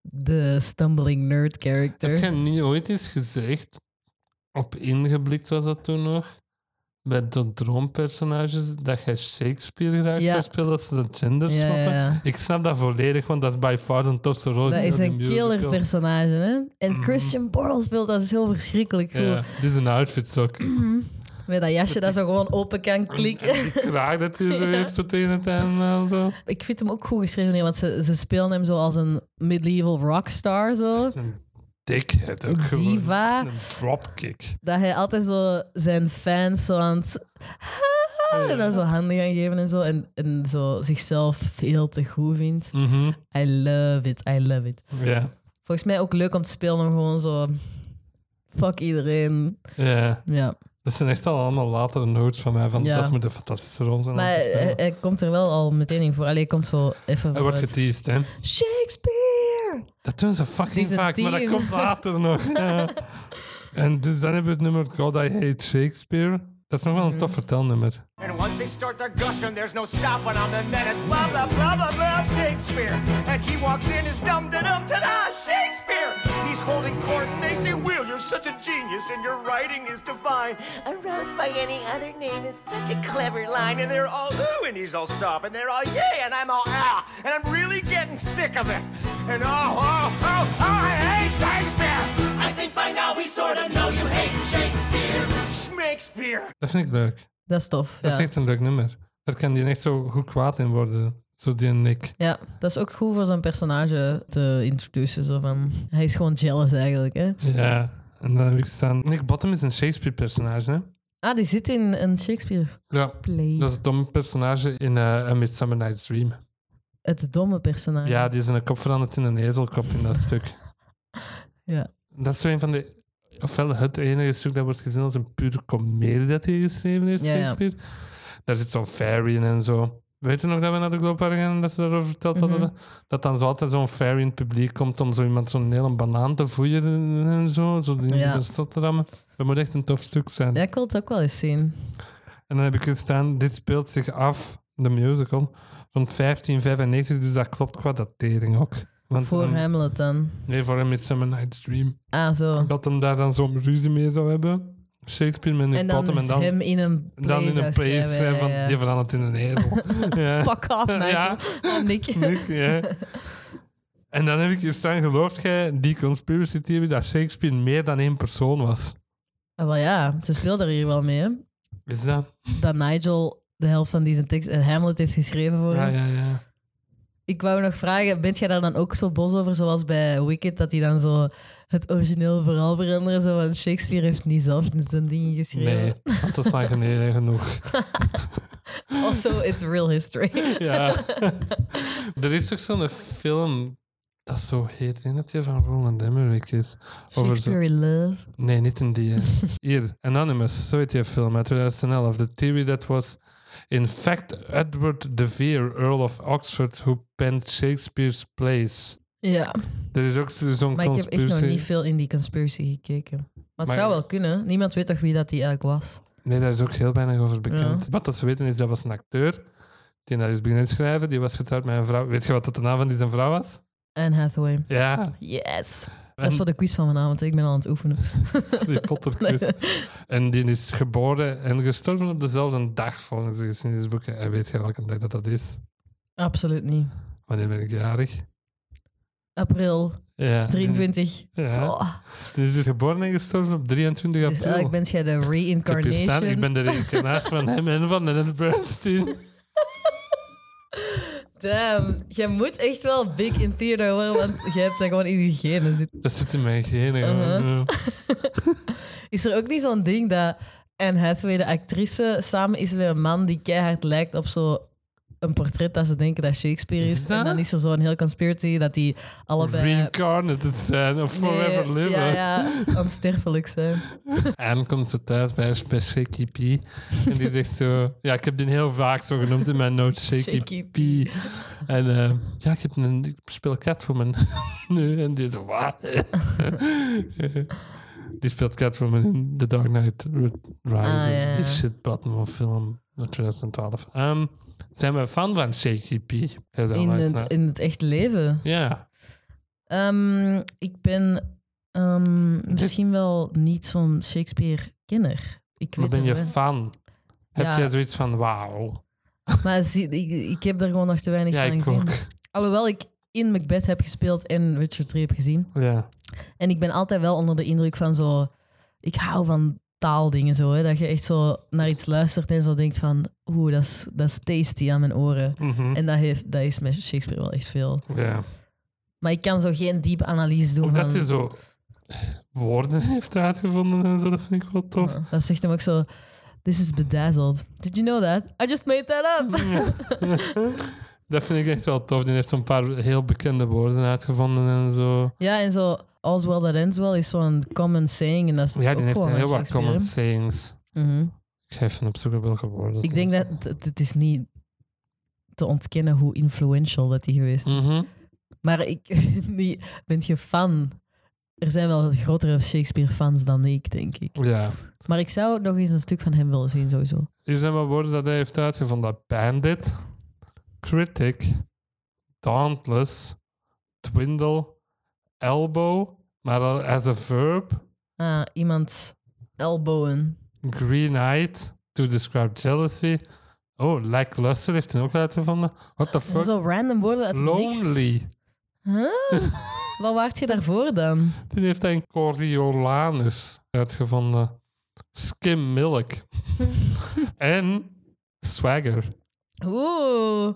B: de stumbling nerd character.
A: Heb jij niet ooit eens gezegd, op ingeblikt was dat toen nog, bij de droompersonages, dat jij Shakespeare graag
B: Ja.
A: zou spelen, dat ze de gender
B: Ja,
A: swappen?
B: ja, ja.
A: Ik snap dat volledig, want dat is by far de tofste rol.
B: Dat
A: in
B: is
A: de
B: een
A: musical.
B: killer personage, hè? En
A: Mhm.
B: Christian Borle speelt dat zo verschrikkelijk goed.
A: Ja, dit is een outfit
B: (clears throat)
A: ook.
B: Met dat jasje dat zo gewoon open kan klikken.
A: Ik raak dat hij
B: (laughs)
A: zo heeft tot tegen het einde en zo.
B: Ik vind hem ook goed geschreven, hè, want ze, ze spelen hem zo als een medieval rockstar, zo.
A: Een dikheid ook
B: Een
A: gewoon.
B: diva.
A: Een dropkick.
B: Dat hij altijd zo zijn fans zo aan het... En dan zo handen gaan geven en zo. En, en zo zichzelf veel te goed vindt.
A: Mhm,
B: I love it, I love it.
A: Ja,
B: Volgens mij ook leuk om te spelen, om gewoon zo... Fuck iedereen.
A: ja.
B: Ja.
A: Dat zijn echt al allemaal latere notes van mij. Van,
B: Ja.
A: Dat moet een fantastische rol zijn. om
B: Maar eh,
A: te spelen.
B: hij, hij komt er wel al meteen in voor. Allee, hij komt zo even
A: Hij wordt
B: vooruit.
A: geteased, hè.
B: Shakespeare!
A: Dat doen ze fucking
B: Die is een
A: vaak, maar dat
B: team.
A: komt
B: (laughs)
A: later nog. (laughs) Ja. En dus dan hebben we het nummer God I Hate Shakespeare. Dat is nog wel
B: Mhm.
A: een tof vertelnummer.
D: And once they start their gushing, there's no stopping them. And then it's blah, blah, blah, blah, blah, Shakespeare. And he walks in, is dum, da, dum, ta-da, Shakespeare. He's holding court, and they say, Will, you're such a genius, and your writing is divine. A rose by any other name is such a clever line. And they're all, ooh, and he's all, stop. And they're all, yay, and I'm all, ah. And I'm really getting sick of it. And oh, oh, oh, oh, I hate Shakespeare. I think by now we sort of know you hate Shakespeare. Shakespeare.
A: Dat vind ik leuk.
B: Dat is tof,
A: Dat
B: ja.
A: is echt een leuk nummer. Daar kan die echt zo goed kwaad in worden. Zo die Nick.
B: Ja, dat is ook goed voor zo'n personage te introduceren. Zo van, hij is gewoon jealous eigenlijk. Hè?
A: Ja. En dan heb ik staan... Nick Bottom is een Shakespeare-personage, hè?
B: Ah, die zit in een Shakespeare
A: Ja.
B: play.
A: Dat is het domme personage in eh, A Midsummer Night's Dream.
B: Het domme personage.
A: Ja, die is in een kop veranderd in een ezelkop in dat stuk.
B: (laughs) Ja.
A: Dat is zo een van de... Ofwel het enige stuk dat wordt gezien als een pure komedie dat hij geschreven heeft,
B: Ja, ja.
A: Shakespeare. Daar zit zo'n fairy in en zo. Weet je nog dat we naar de Globe waren gegaan en dat ze daarover verteld
B: Mhm.
A: hadden? Dat dan zo altijd zo'n fairy in het publiek komt om zo iemand zo'n hele banaan te voeieren en zo. Zo die in
B: Ja.
A: zijn strot te rammen. Dat moet echt een tof stuk zijn.
B: Ja, ik wil het ook wel eens zien.
A: En dan heb ik hier staan, dit speelt zich af, de musical, rond 1595. Dus dat klopt qua datering ook. Want,
B: Voor
A: ehm,
B: Hamlet dan.
A: Nee, voor hem Midsummer Night's Dream.
B: Ah, zo.
A: Dat hem daar dan zo'n ruzie mee zou hebben. Shakespeare met Nick
B: En dan,
A: Potem en
B: is
A: dan,
B: hem in een play
A: dan in
B: zou
A: een play schrijven van
B: ja, ja.
A: die verandert in een
B: (laughs)
A: ezel. ja.
B: Fuck
A: (laughs)
B: off,
A: Ja.
B: Nigel. Ja. (laughs) Nick.
A: Nick, ja. En dan heb ik hier staan, gelooft jij die conspiracy theory dat Shakespeare meer dan één persoon was?
B: Ah, wel ja, ze speelde er hier wel mee. hè.
A: Is dat?
B: Dat Nigel de helft van deze tekst en Hamlet heeft geschreven voor
A: Ja,
B: hem.
A: ja, ja.
B: Ik wou nog vragen, bent jij daar dan ook zo bos over, zoals bij Wicked, dat hij dan zo het origineel verhaal veranderen? Zo van Shakespeare heeft niet zelf zijn dingen geschreven.
A: Nee, want dat is lang geleden
B: (laughs)
A: genoeg.
B: Also, it's real
A: (laughs)
B: history.
A: Ja. er is toch zo'n film dat zo heet, ik denk dat die van Roland Emmerich is. Over zo-
B: Shakespeare in Love.
A: Nee, niet in die. eh, hè. Hier, Anonymous, zo heet die film uit 2011. The theory that was in fact Edward de Vere, Earl of Oxford, who penned Shakespeare's plays.
B: (laughs) Ja,
A: Er is ook zo'n
B: maar ik heb echt nog
A: conspiracy.
B: niet veel in die conspiracy gekeken. Maar het
A: Maar-
B: zou wel kunnen. Niemand weet toch wie dat die eigenlijk was.
A: Nee, daar is ook heel weinig over bekend. Wat dat ze weten is, dat was een acteur die daar is beginnen schrijven. Die was getrouwd met een vrouw. Weet je wat dat de naam van die zijn vrouw was?
B: Anne Hathaway.
A: Ja.
B: Yes. Ah,
A: En-
B: Dat is voor de quiz van vanavond. Ik ben al aan het oefenen. (laughs)
A: Die Potterquiz. En die is geboren en gestorven op dezelfde dag volgens de geschiedenisboeken. En weet je welke dag dat, dat is?
B: Absoluut niet.
A: Wanneer ben ik jarig?
B: April
A: Ja.
B: 23.
A: Ja.
B: Oh.
A: Die is dus geboren en gestorven op 23
B: Dus
A: april.
B: eigenlijk bent jij de
A: ik heb hier
B: reincarnation.
A: staan, (laughs) ik ben de reïncarnatie
B: (laughs)
A: van hem en van Leonard Bernstein.
B: Damn, jij moet echt wel big in theater worden, want jij hebt dat gewoon in je genen zitten.
A: Dat zit in mijn genen. gewoon.
B: Uh-huh. Is er ook niet zo'n ding dat Anne Hathaway, de actrice, samen is met een man die keihard lijkt op zo'n portret dat ze denken dat Shakespeare is.
A: Is dat?
B: En dan is er zo'n heel conspiracy dat die allebei...
A: Reincarnated zijn of
B: eh, Nee,
A: forever live.
B: Ja,
A: (laughs)
B: ja, onsterfelijk zijn.
A: Anne komt zo thuis bij bij Shaky P. En die zegt zo... Ja, ik heb die heel vaak zo genoemd in mijn notes. Shaky,
B: Shaky
A: P. En eh, ja, ik, heb een, ik speel Catwoman (laughs) nu. En die zo... Wat? (laughs) die speelt Catwoman in The Dark Knight Rises.
B: Ah, ja.
A: Die shit bottom of film uit 2012. Ehm, zijn we fan van Shaky P? Hij zou
B: In
A: luisteren.
B: het, in het echt leven.
A: Ja.
B: Ehm, ik ben ehm, misschien wel niet zo'n Shakespeare-kenner. Ik
A: Maar
B: weet
A: ben
B: er
A: je
B: wel-
A: fan? Heb
B: Ja.
A: jij zoiets van wauw?
B: Maar zie, ik, ik heb er gewoon nog te weinig
A: Ja,
B: van
A: ik
B: gezien.
A: ook.
B: Alhoewel ik in Macbeth heb gespeeld en Richard III heb gezien.
A: Ja.
B: En ik ben altijd wel onder de indruk van zo... Ik hou van taaldingen zo, hè. Dat je echt zo naar iets luistert en zo denkt van... Oeh, dat is, dat is tasty aan mijn oren.
A: Mhm.
B: En dat, heeft, dat is met Shakespeare wel echt veel.
A: ja.
B: Maar ik kan zo geen diepe analyse doen
A: Omdat
B: van...
A: hij zo woorden heeft uitgevonden en zo, dat vind ik wel tof.
B: Ja, Dat zegt hem ook zo... This is bedazzled. Did you know that? I just made that
A: Mm.
B: up.
A: (laughs) dat vind ik echt wel tof. Die heeft zo'n paar heel bekende woorden uitgevonden en zo.
B: (laughs) Ja, en zo... All's well that ends well is zo'n common saying. En dat is
A: Ja,
B: ook
A: die heeft eh,
B: gewoon
A: heel
B: van
A: wat
B: Shakespeare, hè.
A: common sayings.
B: Mhm.
A: Ik ga even opzoeken welke woorden.
B: Ik denk dat het, het is niet te ontkennen hoe influential dat hij geweest is.
A: Mhm.
B: Maar ik (laughs) niet, ben je fan. Er zijn wel grotere Shakespeare-fans dan ik, denk ik.
A: Ja.
B: Maar ik zou nog eens een stuk van hem willen zien, sowieso.
A: Hier zijn wat woorden dat hij heeft uitgevonden. Bandit, critic, dauntless, dwindle, elbow, maar dan as a verb,
B: Ah, iemand elbowen.
A: Green Eyed to describe jealousy. Oh, lackluster heeft hij ook uitgevonden. What the fuck?
B: Zo random woorden uit het niks.
A: Lonely.
B: Huh? (laughs) Wat waart je daarvoor dan?
A: Die heeft hij een Coriolanus uitgevonden. Skim
B: (laughs)
A: milk. en swagger.
B: Oeh.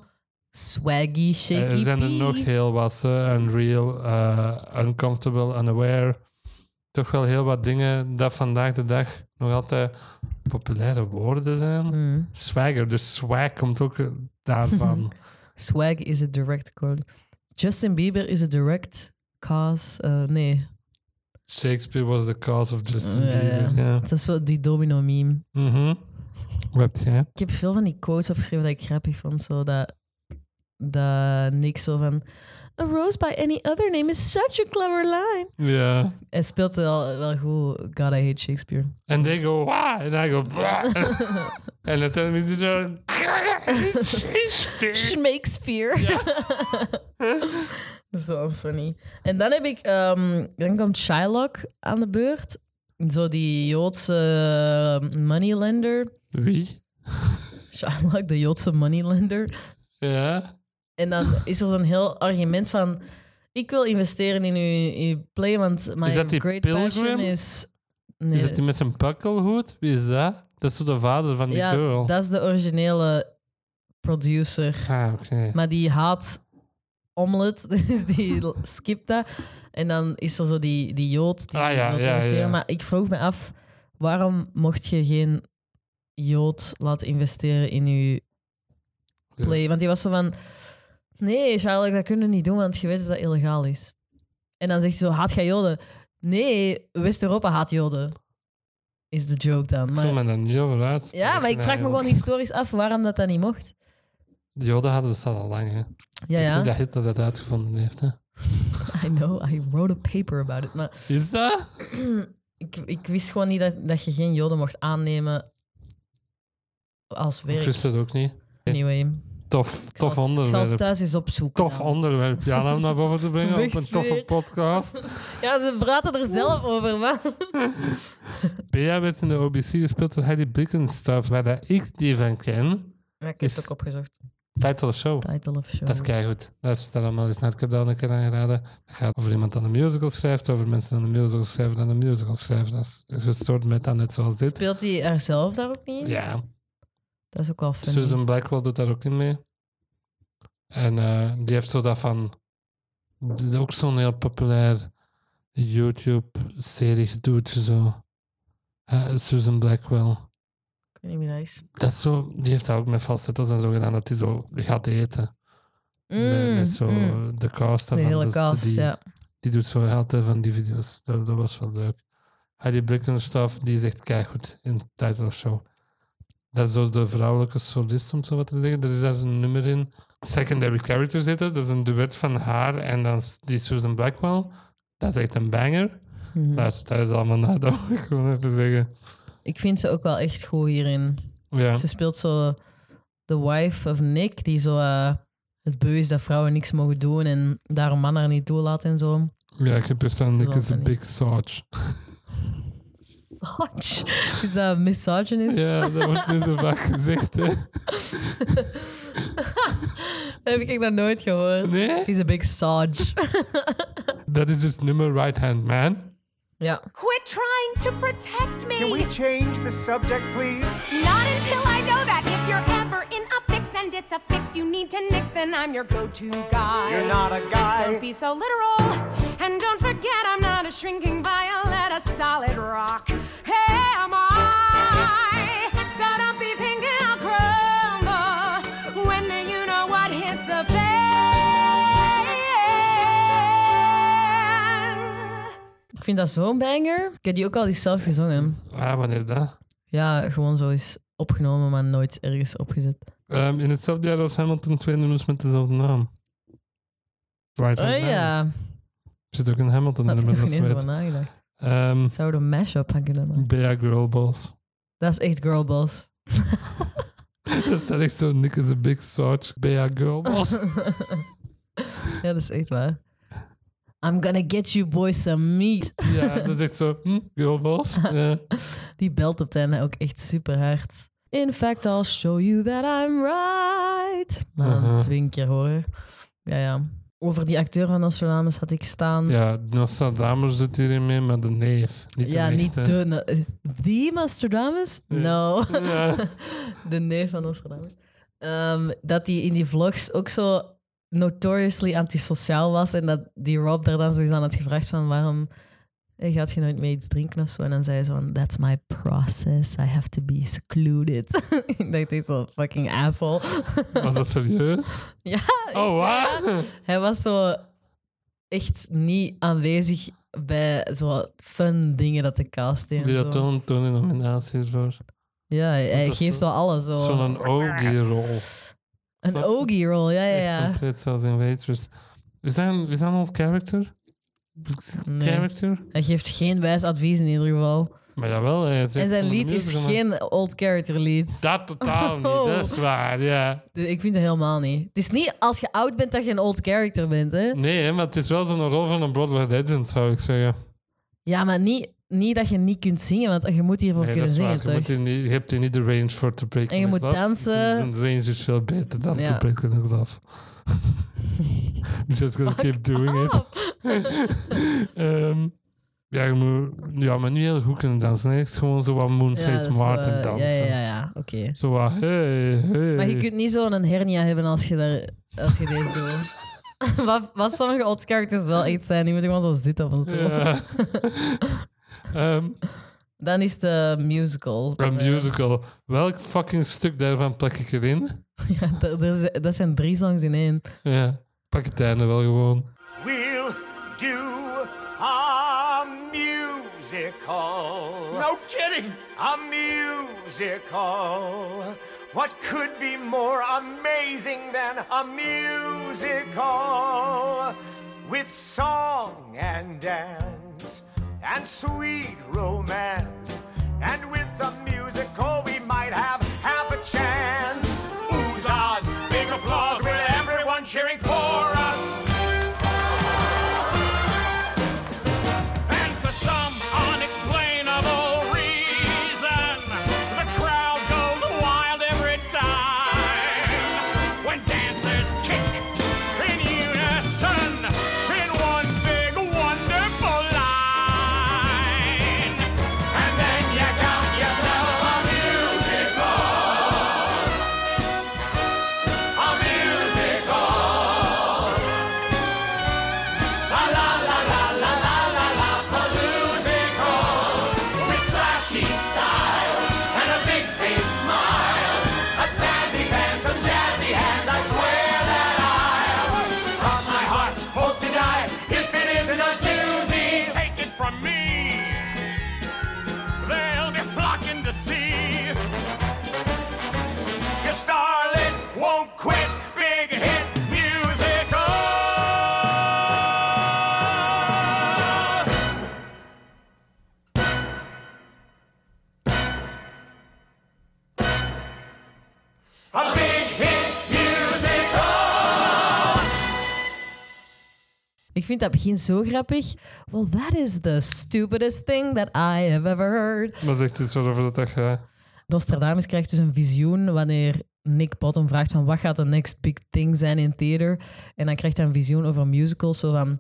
B: Swaggy, shaky
A: Eh, Er zijn er
B: pee.
A: nog heel wat. eh, unreal, eh, uncomfortable, unaware. Toch wel heel wat dingen dat vandaag de dag nog altijd populaire woorden zijn.
B: Mm.
A: Swagger, dus swag komt ook eh,
B: (laughs)
A: daarvan.
B: Swag is a direct cause. Justin Bieber is a direct cause. eh, nee,
A: Shakespeare was the cause of Justin
B: Ja, ja.
A: Bieber. Ja.
B: dat is wel die domino meme.
A: Mhm. Wat heb jij?
B: Ik heb veel van die quotes opgeschreven dat ik grappig vond. Zo dat, dat Nick zo van... A rose by any other name is such a clever line.
A: Ja.
B: Hij speelt wel, wel goed. God, I hate Shakespeare.
A: (laughs) En they go, wah! En hij go, blah! (laughs) en uiteindelijk is zo... Shakespeare!
B: (laughs) Shakespeare. Dat is wel funny. En dan heb ik... ehm, dan komt Shylock aan de beurt. Zo die Joodse eh, moneylender.
A: Wie?
B: Shylock, de Joodse moneylender.
A: Ja.
B: En dan
A: (laughs)
B: is er zo'n heel argument van... Ik wil investeren in uw, uw play, want my
A: Is dat die
B: great
A: Pilgrim?
B: passion is... Nee,
A: Is dat die met zijn pakkelhoed? Wie is dat? Dat is zo de vader van die
B: ja,
A: girl.
B: dat is de originele producer.
A: Ah, oké.
B: Maar die haat omelet, (laughs) dus die l- skipt dat. En dan is er zo die, die Jood die
A: Ah, ja,
B: wil
A: ja,
B: investeren.
A: ja.
B: Maar ik vroeg me af, waarom mocht je geen Jood laten investeren in je
A: Ja.
B: play? Want die was zo van, nee Charlotte, dat kunnen we niet doen, want je weet dat dat illegaal is. En dan zegt hij zo, haat jij Joden? Nee, West-Europa haat Joden. Is de joke dan.
A: Ik
B: Maar,
A: voel me eh, daar niet over uit.
B: ja, maar ik vraag me
A: (laughs)
B: gewoon historisch af waarom dat dat niet mocht.
A: Die Joden hadden bestaan al lang, hè. Het
B: Ja,
A: is niet
B: ja.
A: dat Hitler dat uitgevonden heeft, hè.
B: I know, I wrote a paper about it. Maar
A: Is dat?
B: ik, ik wist gewoon niet dat, dat je geen joden mocht aannemen als
A: Ik
B: werk.
A: wist het ook niet.
B: Anyway, ik
A: Tof,
B: zal,
A: tof
B: het- ik zal het
A: onderwerp.
B: thuis eens opzoeken.
A: Tof
B: ja.
A: onderwerp. Ja, nou, om naar boven te brengen op een
B: Wegsfeer.
A: toffe podcast.
B: Ja, ze praten er zelf over, man.
A: Bea werd in de OBC gespeeld door Heidi Blickenstuff, waar dat ik die van ken.
B: Maar ik heb
A: Is-
B: het ook opgezocht.
A: Title Show.
B: Title of show.
A: Dat is keigoed. Luister daar allemaal eens naar. Ik heb dat al een keer aangeraden. Dat gaat over iemand dat een musical schrijft, over mensen die een musical schrijven, dat een musical schrijft. Dat is gestoord met dan net zoals dit.
B: Speelt hij haarzelf daar ook niet in?
A: Ja,
B: Dat is ook wel funny.
A: Susan Blackwell doet daar ook in mee. En eh, die heeft zo dat van... dat is ook zo'n heel populair YouTube-serie gedoetje zo. Eh, Susan Blackwell.
B: Ik weet niet wie dat is.
A: Dat is zo, die heeft dat ook met falsettos en zo gedaan, dat hij zo gaat eten. met,
B: Mm,
A: met zo
B: mm.
A: de cast.
B: De
A: daarvan.
B: hele
A: Dus
B: cast,
A: die,
B: ja.
A: die doet zo altijd van die video's. Dat, dat was wel leuk. Heidi Blickenstaff, die is echt keigoed in de title of show. Dat is zo de vrouwelijke solist, om het zo wat te zeggen. Er is daar zo'n nummer in. Secondary Character zitten. Dat is een duet van haar en dan s- die Susan Blackwell. Dat is echt een banger.
B: Mhm.
A: Luister, daar is allemaal naar, (laughs) dat wil ik gewoon even zeggen.
B: Ik vind ze ook wel echt goed hierin.
A: Ja,
B: Ze speelt zo de wife of Nick, die zo eh, het beu is dat vrouwen niks mogen doen en daarom mannen er niet toe laat en zo.
A: ja ik heb persoonlijk
B: Ze zal
A: is een
B: het niet.
A: big sarge.
B: Sach. Is dat misogynist?
A: Ja, dat wordt niet zo vaak gezegd, hè.
B: Dat heb ik nog nooit gehoord.
A: Nee,
B: He's a big sage.
A: dat is dus nummer Right Hand Man.
B: (laughs) ja.
E: Quit trying to protect me!
D: Can we change the subject, please?
E: Not until I know that if you're ever in a fix and it's a fix you need to nix, then I'm your go-to guy.
D: You're not a guy.
E: Don't be so literal, and don't forget I'm not a shrinking violet, a solid rock. Hey, am I? So don't be thinking I'll crumble when the you know what hits the fan.
B: Ik vind dat zo'n banger. Ik heb die ook al eens zelf gezongen.
A: Ah, wanneer dat?
B: Ja, gewoon zo eens opgenomen, maar nooit ergens opgezet.
A: Ehm, in hetzelfde jaar als Hamilton twee nummers met dezelfde naam. Right
B: Oh
A: Hand Man.
B: ja,
A: Er zit ook een Hamilton
B: daar had ik
A: nummer,
B: nog
A: dat
B: niet
A: ze
B: eens
A: weet.
B: over nagedacht.
A: Ehm
B: Zou er een mashup van kunnen maken?
A: Bea Girlballs.
B: Dat is echt girlboss.
A: (laughs) dat staat echt zo, Nick is a big sarge, Bea
B: (laughs)
A: Girlballs.
B: Ja, dat is echt waar. I'm gonna get you boys some meat.
A: ja, dat is echt zo, hm, Girlballs.
B: (laughs)
A: Ja.
B: Die belt op het einde ook echt super hard. In fact, I'll show you that I'm right. Maar dan
A: Aha.
B: twee keer horen. Ja, ja. Over die acteur van Nostradamus had ik staan. Ja,
A: ja, Nostradamus doet hierin mee, maar de neef. Niet de
B: niet
A: echte.
B: de... no- Die Nostradamus?
A: Ja.
B: No.
A: Ja.
B: (laughs) de neef van Nostradamus. Ehm, dat hij in die vlogs ook zo notoriously antisociaal was. En dat die Rob daar dan sowieso aan had gevraagd van waarom eh, gaat je nooit mee iets drinken of zo. En dan zei hij zo van, that's my process. I have to be secluded. (laughs) Ik dacht echt zo, fucking asshole. (laughs)
A: Was dat serieus?
B: Ja,
A: Oh, wat?
B: hij was zo echt niet aanwezig bij zo fun dingen dat de cast deed. en
A: Die
B: zo.
A: had toen, toen een nominatie ervoor.
B: Ja, hij
A: Dat is
B: geeft
A: zo-
B: wel alles. Zo.
A: Zo'n Ogie-rol.
B: een
A: snap-
B: Ogie-roll, ja, ja,
A: Echt
B: ja.
A: compleet zoals in Waitress. Is dat een, is dat een old character?
B: Nee.
A: Character?
B: Hij geeft geen wijs advies in ieder geval.
A: Maar jawel, hij zegt
B: En zijn
A: van de
B: lied is
A: musical.
B: geen Oh. old character lied.
A: Dat totaal niet, dat is waar, ja.
B: Dus ik vind dat helemaal niet. Het is niet als je oud bent dat je een old character bent, hè?
A: Nee, hè, maar het is wel zo'n rol van een Broadway legend, zou ik zeggen.
B: Ja, maar niet, niet dat je niet kunt zingen, want je moet hiervoor
A: Nee, dat
B: kunnen
A: is waar.
B: zingen,
A: Je, moet
B: toch?
A: hier niet- je hebt hier niet de range voor te break
B: En je moet dansen.
A: Dus De range is veel beter dan
B: Ja.
A: to break the
B: (laughs)
A: glove. Just gonna keep doing it. (laughs) Ehm, ja, je moet, ja, maar niet heel goed kunnen dansen. hè. Echt gewoon zo wat Moonface
B: dat is,
A: Martin
B: eh,
A: dansen.
B: Ja, ja, ja, oké.
A: Zo wat, hey, hey.
B: Maar je kunt niet zo'n hernia hebben als je, daar, als je deze doet. (laughs) wat, wat sommige old characters wel echt zijn, die moeten gewoon zo zitten op een stoel. (laughs)
A: Ja. Ehm,
B: Dan is de musical.
A: een musical. Welk fucking stuk daarvan plak ik erin?
B: Ja, (laughs) dat, dat is- dat zijn drie songs in één.
A: Ja, pak het einde wel gewoon.
D: We'll do a musical. No kidding! A musical. What could be more amazing than a musical? With song and dance and sweet romance. And with a musical, we might have half a chance. Oozahs, big applause with everyone cheering for us. And for some unexplainable reason, the crowd goes wild every time. When dancers kick in unison in one big wonderful line. And then you got yourself a musical. A musical. La la la la la la la la paloozical with flashy style and a big face smile, a snazzy band, some jazzy hands. I swear that I'll cross my heart, hope to die if it isn't a doozy. Take it from me, they'll be flocking to see. Your starlet won't quit, big hit musical. A big hit musical.
B: Ik vind dat begin zo grappig. Well, that is the stupidest thing that I have ever heard.
A: Dat is echt iets waarover dat dat gaat.
B: Nostradamus krijgt dus een visioen wanneer Nick Bottom vraagt van wat gaat de next big thing zijn in theater. En dan krijgt hij een visioen over musicals. Zo van,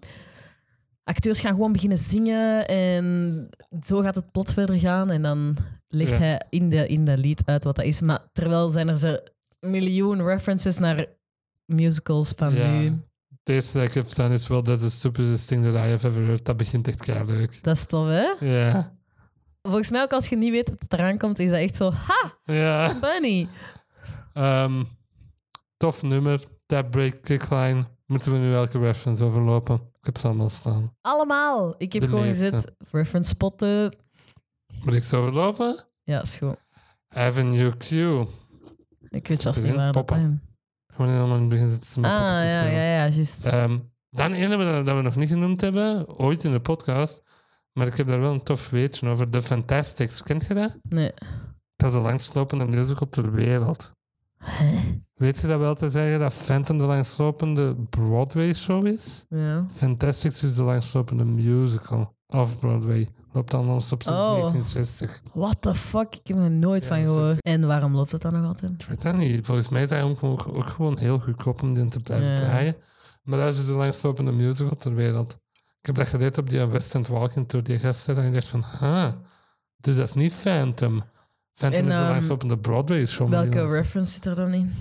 B: acteurs gaan gewoon beginnen zingen en zo gaat het plot verder gaan. En dan legt
A: Ja.
B: hij in, de, in dat lied uit wat dat is. Maar terwijl zijn er zo miljoen references naar musicals van
A: Ja.
B: nu.
A: Het eerste dat ik heb staan is wel dat the stupidest thing that I have ever heard. Dat begint echt keihard.
B: Dat is tof, hè?
A: Ja.
B: Volgens mij ook als je niet weet dat het eraan komt, is dat echt zo, ha,
A: Ja.
B: funny.
A: Ehm, tof nummer. That break, kickline. Moeten we nu elke reference overlopen? Ik heb ze allemaal staan.
B: Allemaal. Ik heb
A: De
B: gewoon
A: meeste.
B: gezet, reference spotten.
A: Moet ik ze overlopen?
B: Ja, is goed.
A: Avenue Q.
B: Ik weet zelfs
A: er
B: niet
A: in?
B: waar dat
A: Poppen.
B: zijn.
A: Gewoon helemaal in het begin zitten ze met
B: Ah,
A: poppen te
B: ja, ja,
A: spelen.
B: ja, juist.
A: Ehm, dan één hebben we dat- dat we nog niet genoemd hebben, ooit in de podcast. Maar ik heb daar wel een tof weetje over. The Fantastics, kent je dat?
B: Nee.
A: Dat is de langstlopende musical ter wereld. Weet je dat wel te zeggen dat Phantom de langstlopende Broadway-show is?
B: Ja.
A: Fantastics is de langstlopende musical of Broadway. Loopt al non-stop sinds
B: Oh.
A: 1960.
B: What the fuck? Ik heb er nooit
A: Ja,
B: van
A: dat is
B: gehoord.
A: echt-
B: En waarom loopt dat dan nog altijd?
A: Ik weet dat niet. Volgens mij is hij ook, ook- ook gewoon heel goedkoop om die te blijven
B: Ja.
A: draaien. Maar dat is dus de langstlopende musical ter wereld. Ik heb dat geleerd op die West End Walking Tour, die gasten. En ik dacht van, ha, dus dat is niet Phantom. Phantom
B: En,
A: is de
B: ehm,
A: langstlopende Broadway show. maar die
B: Welke
A: langs-
B: reference zit er dan in?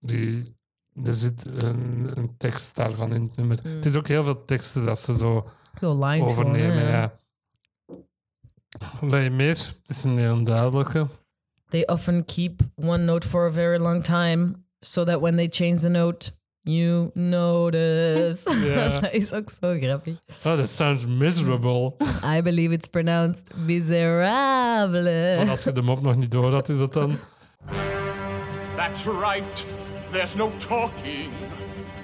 A: die, Er zit een, een tekst daarvan in het nummer.
B: Mm.
A: Het is ook heel veel teksten dat ze zo
B: Zo lines gewoon,
A: overnemen.
B: hè.
A: ja. Lay Miss is een heel duidelijke.
B: They often keep one note for a very long time, so that when they change the note, you notice.
A: Ja.
B: (laughs) dat is ook zo grappig.
A: Oh, that sounds
B: (laughs)
A: miserable.
B: I believe it's pronounced miserable.
A: Want als je de mop nog niet door had, is dat dan...
D: That's right. There's no talking.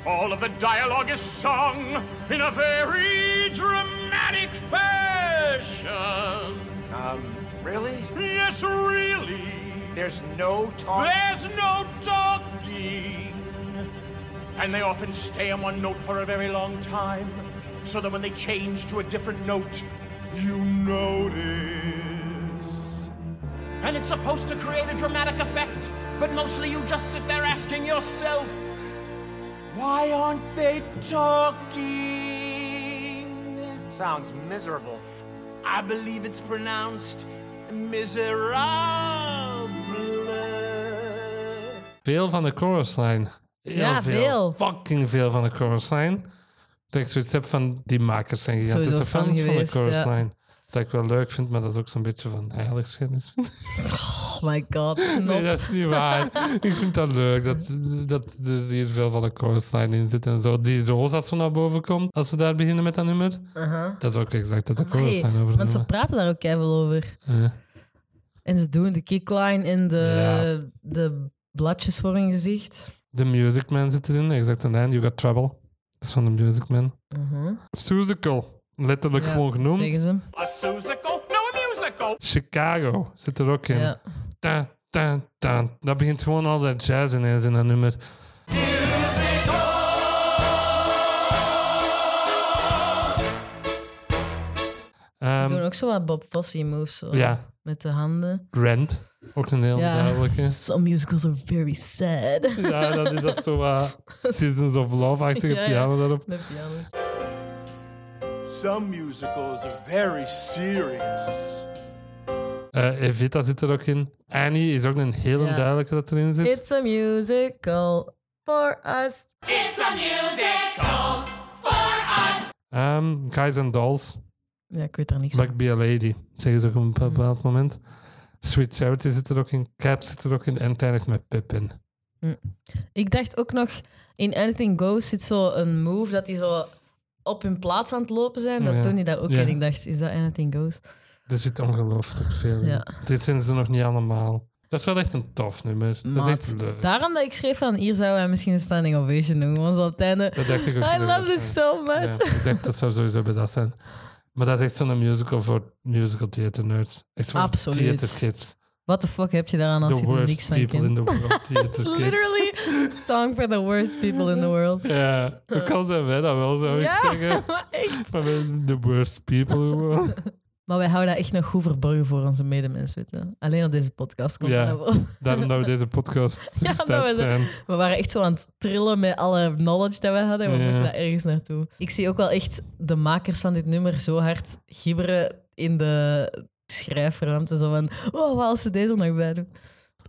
D: All of the dialogue is sung in a very dramatic fashion. Um, really?
F: Yes, really.
D: There's no talk.
F: There's no talking. And they often stay on one note for a very long time, so that when they change to a different note, you notice. And it's supposed to create a dramatic effect, but mostly you just sit there asking yourself, why aren't they talking?
D: Sounds miserable.
F: I believe it's pronounced miserable.
A: Veel van de chorusline. Heel
B: Ja, veel.
A: Fucking veel van de chorusline. Dat ik zoiets heb van, die makers zijn gigantische
B: Sowieso fan
A: fans
B: geweest,
A: van de
B: ja.
A: chorusline. Dat ik wel leuk vind, maar dat is ook zo'n beetje van heiligschennis.
B: Oh my god, snap.
A: Nee, dat is niet
B: (laughs)
A: waar. ik vind dat leuk dat, dat er hier veel van de chorusline in zit en zo. Die roos dat zo naar boven komt, als ze daar beginnen met dat nummer. Dat is ook exact dat de chorusline
B: Hey, Uh-huh. want ze
A: overnemen.
B: praten daar ook veel over.
A: Ja.
B: En ze doen de kickline en de, de bladjes voor hun gezicht.
A: The Music Man zit erin, exact aan het eind. You Got Trouble. Dat is van The Music Man.
B: Mhm.
A: Suzical, letterlijk
B: Ja,
A: gewoon genoemd.
B: Zeggen ze.
F: A Susical? No, a musical.
A: Chicago zit er ook in.
B: Ja.
A: Ta, ta, ta. Dat begint gewoon al dat jazz ineens in dat nummer. Ehm,
B: Doen ook zo wat Bob Fosse moves. Zo,
A: ja,
B: Met de handen.
A: Rent. Ook een heel
B: Ja.
A: duidelijke.
B: Some musicals are very sad.
A: (laughs) Ja, dat is dat zo
B: (laughs)
A: wat Seasons of Love-achtige
B: Ja, ja.
A: piano daarop.
B: De piano.
F: Some musicals are very serious.
A: Eh, Evita zit er ook in. Annie is ook een heel
B: Ja.
A: duidelijke dat erin zit.
B: It's a musical for us.
C: It's a musical for us.
A: Ehm, Guys and Dolls.
B: Ja, ik weet daar niks van.
A: Black Be a Lady, zeggen ze ook op een bepaald
B: Mm.
A: moment. Sweet Charity zit er ook in, Cat zit er ook in en het eindigt met Pip in.
B: Ik dacht ook nog, in Anything Goes zit zo een move dat die zo op hun plaats aan het lopen zijn. Dat
A: Oh Ja.
B: doen die dat ook
A: Ja.
B: in. Ik dacht, is dat Anything Goes?
A: Er zit ongelooflijk veel in.
B: Ja.
A: Dit zijn ze nog niet allemaal. Dat is wel echt een tof nummer. dat is echt eh,
B: Maat,
A: leuk.
B: daarom dat ik schreef van, hier zouden wij misschien een standing ovation doen. Want zo op het einde,
A: Dat dacht ik ook.
B: (laughs)
A: dat
B: I love
A: dat
B: this
A: zijn.
B: so much.
A: Ja, ik dacht dat zou sowieso bij dat zijn. Maar dat is echt zo'n musical voor musical theater nerds. Echt voor
B: Absoluut.
A: theater kids.
B: What the fuck heb je daaraan als
A: the
B: je er
A: worst
B: niks van
A: people in
B: kent?
A: the world
B: (laughs)
A: theater kids.
B: Literally, (laughs) song for the worst people in the world. (laughs)
A: Ja, hoe kan zijn wij dat wel, zou ik
B: Ja,
A: zeggen?
B: maar echt.
A: Maar wij zijn the worst people in the world.
B: Maar wij houden dat echt nog goed verborgen voor onze medemens, weet je. Alleen op deze podcast komt
A: Ja.
B: dat naar boven.
A: Daarom dat we deze podcast
B: Ja,
A: gestart
B: dat we zo-
A: zijn.
B: We waren echt zo aan het trillen met alle knowledge dat we hadden. We
A: Ja.
B: moeten daar ergens naartoe. Ik zie ook wel echt de makers van dit nummer zo hard gibberen in de schrijfruimte. Zo van, oh, wat als we deze er nog bij doen?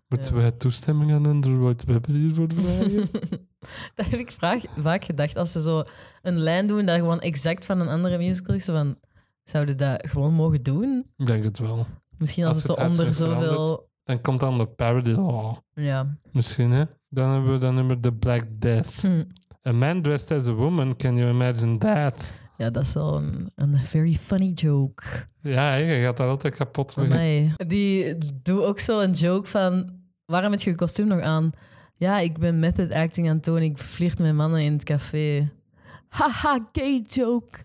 A: Moeten
B: Ja.
A: wij toestemming aan Andrew Lloyd Webber hiervoor vragen?
B: (laughs) Dat heb ik vraag, vaak gedacht. Als ze zo een lijn doen dat gewoon exact van een andere musical is. zo Van, zouden dat gewoon mogen doen?
A: Ik denk het wel.
B: Misschien als,
A: Als
B: het
A: het
B: zo onder
A: uitzicht
B: zoveel...
A: Dan komt dan de Parody Law.
B: Ja.
A: Misschien, hè? Dan hebben we dan nummer The Black Death.
B: Hm.
A: A man dressed as a woman, can you imagine that?
B: ja, dat is wel een, een very funny joke.
A: Ja, hè, je gaat daar altijd kapot mee.
B: Amai. Die doet ook zo een joke van... Waarom heb je je kostuum nog aan? Ja, ik ben method acting aan het doen. Ik flirt met mannen in het café. Haha, gay joke.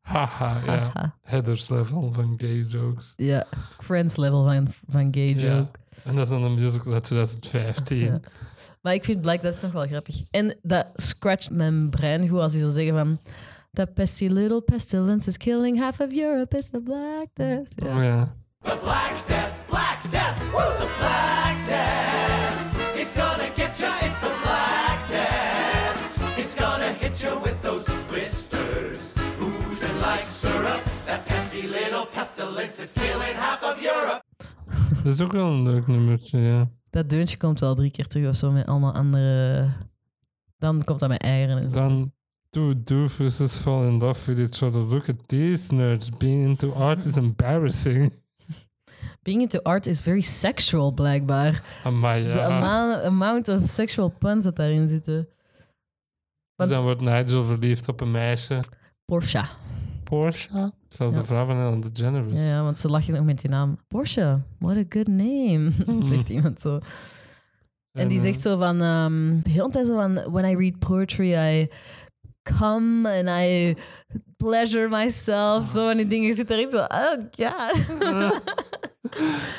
A: Haha, ja.
B: Haha.
A: Headers level van gay jokes.
B: Ja, friends level van, van gay
A: Ja.
B: joke.
A: En dat is dan een musical uit 2015.
B: Ja. Maar ik vind Black Death nog wel grappig. En dat scratcht mijn brein goed als hij zou zeggen van... That pesty little pestilence is killing half of Europe. It's the Black Death. Ja.
A: Oh, ja.
C: The Black Death, Black Death, woo! The Black Death. It's gonna get ya, it's the Black Death. It's gonna hit ya with those blisters, oozing like syrup. That pesky little pestilence is killing half of
A: (laughs)
C: Europe.
A: Dat is ook wel een leuk nummertje, ja.
B: Dat deuntje komt wel drie keer terug of zo met allemaal andere... Dan komt dat met eieren en zo.
A: Dan two doofuses fall in love with each other. Look at these nerds. Being into art is embarrassing. (laughs)
B: Being into art is very sexual, blijkbaar.
A: Amai, ja.
B: De ama- amount of sexual puns dat daarin zitten.
A: Dus dan wordt Nigel verliefd op een meisje.
B: Porsche.
A: Porsche? Zoals de vrouw van Ellen DeGeneres.
B: Ja, ja, want ze lachen ook met die naam. Porsche, what a good name. (laughs) zegt iemand zo. En
A: Hmm.
B: die
A: eh,
B: zegt zo van... ehm de hele tijd zo van... When I read poetry, I come and I pleasure myself. Zo
A: Ah.
B: van die dingen. Je zit er echt zo, oh
A: (laughs)
B: god.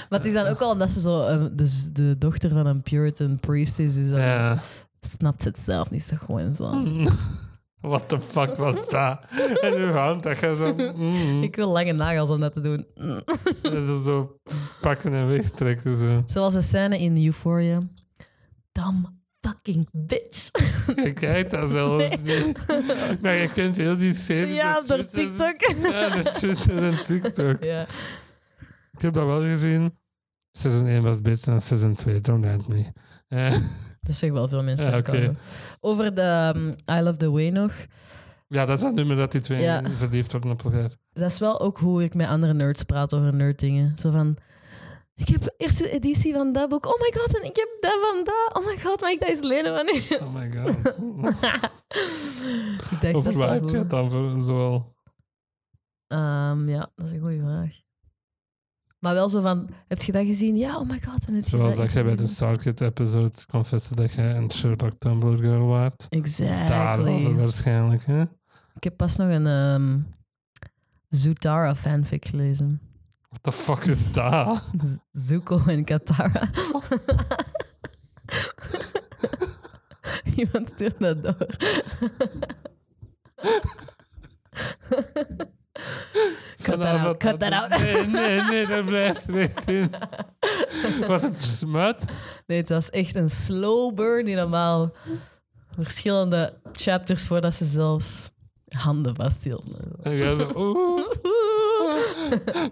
B: maar het is dan ook al omdat ze zo eh, dus de dochter van een Puritan priest is. Dus dan
A: Ja. Hmm.
B: snapt ze het zelf niet zo gewoon zo.
A: (laughs) What the fuck was dat? En uw hand, dat gaat
B: (laughs)
A: zo... mm,
B: Ik wil lange nagels om dat te doen. Mm.
A: en dan zo pakken en wegtrekken. Zo.
B: Zoals de scène in Euphoria. Dumb fucking bitch.
A: Je kijkt dat zelfs niet. Maar je kent heel die
B: (laughs)
A: serie.
B: ja,
A: dat
B: door
A: Twitter- (laughs)
B: TikTok.
A: Ja, dat Twitter en TikTok.
B: ja.
A: Ik heb dat wel gezien. Seizoen 1 was beter dan seizoen 2, don't hate me. Eh,
B: Dat zeggen wel veel mensen.
A: Ja,
B: in de
A: oké.
B: comments. Over de ehm, I Love the Way nog.
A: ja, dat is dat nummer dat die twee
B: Ja.
A: verliefd worden op elkaar.
B: Dat is wel ook hoe ik met andere nerds praat over nerddingen. Zo van... Ik heb de eerste editie van dat boek. Oh my god, en ik heb dat van dat. Oh my god, maar ik dat is lenen van u. (laughs)
A: Oh my god.
B: ik dacht, dat
A: Over
B: is
A: wat
B: wel
A: heb je
B: goed.
A: het dan voor zoal?
B: Ehm, ja, dat is een goede vraag. Maar wel zo van... Heb je dat gezien? Ja, oh my god. En heb je
A: Zoals dat jij bij de
B: gezien?
A: Starkid-episode confessed dat jij een Sherlock Tumblr girl waart. Daarover
B: Exactly.
A: waarschijnlijk, hè?
B: Ik heb pas nog een ehm Zutara fanfic gelezen.
A: What the fuck is dat?
B: Z- Zuko en Katara. (laughs) Iemand stuurt dat door. Cut that out, cut that out.
A: Nee, nee, nee, dat blijft er echt
B: (laughs)
A: in. Was het smut?
B: Nee, het was echt een slow burn die normaal verschillende chapters voordat ze zelfs handen vasthielden.
A: En jij zo, oeh.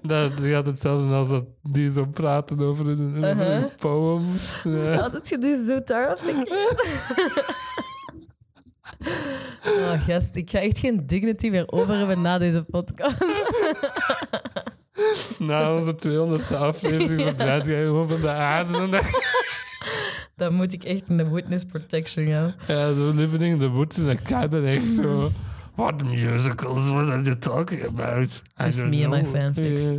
A: Dat die had hetzelfde als dat die zo praten over hun, over hun
B: Uh-huh.
A: poems. (laughs) Ja.
B: Altijd je die Zutara vind (laughs) Oh, gast, ik ga echt geen dignity meer over hebben na deze podcast. (laughs)
A: Na onze 200ste aflevering verdwijnt jij gewoon van de aarde. Omdat
B: Dan moet ik echt in de witness protection gaan.
A: Ja, zo Living in the Woods in a cabin, echt zo. What musicals, what are you talking about? I
B: Just
A: don't
B: me and my
A: know.
B: fanfics.
A: Ja.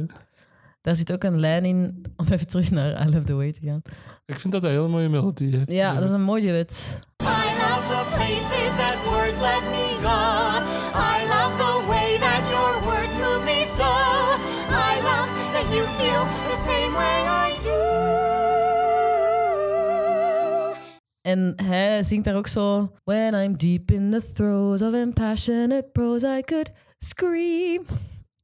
B: Daar zit ook een lijn in, om even terug naar I Love The Way te gaan.
A: Ik vind dat een hele mooie melodie heeft.
B: Ja, dat is een mooi duet.
E: I love the places that words let me go. I love the way that your words move me so. I love that you feel the same way I do.
B: En hij zingt daar ook zo... When I'm deep in the throes of impassionate prose, I could scream.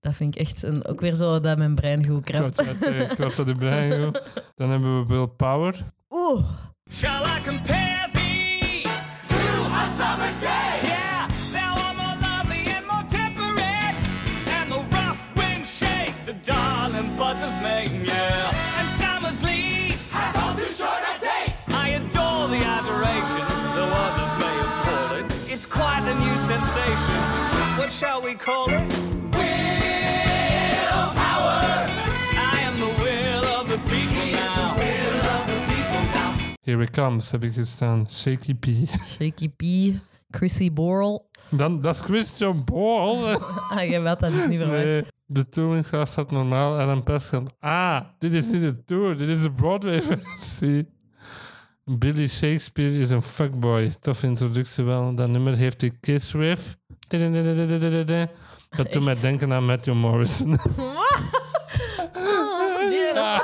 B: Dat vind ik echt een, ook weer zo dat mijn brein goed
A: Klopt,
B: krabt.
A: ja, eh, klopt dat in brein, joh. Dan hebben we Will Power.
B: Oeh,
F: Shall I compare thee?
C: To a summer's day.
F: Yeah, thou art more lovely and more temperate. And the rough winds shake the darling buds of May, yeah. And summer's leaves,
C: I fall too short a date.
F: I adore the adoration, though others may have called it. It's quite the new sensation. What shall we call it? I am the will of the people now.
A: Here we comes, heb ik gestaan. Shaky P.
B: Shaky P, Chrissy Borrell.
A: Dan, dat is Christian Ball.
B: Ah, jij had dat dus niet verwacht.
A: Nee, de touringcast had normaal Alan Pescant. Ah, dit is niet de tour, dit is de (laughs) Broadway-versie. Billy Shakespeare is een fuckboy. Toffe introductie wel. Dat nummer heeft die Kiss Riff. Dat doet mij
B: Echt?
A: denken aan Matthew Morrison. (laughs)
B: Die nog-
A: Ja.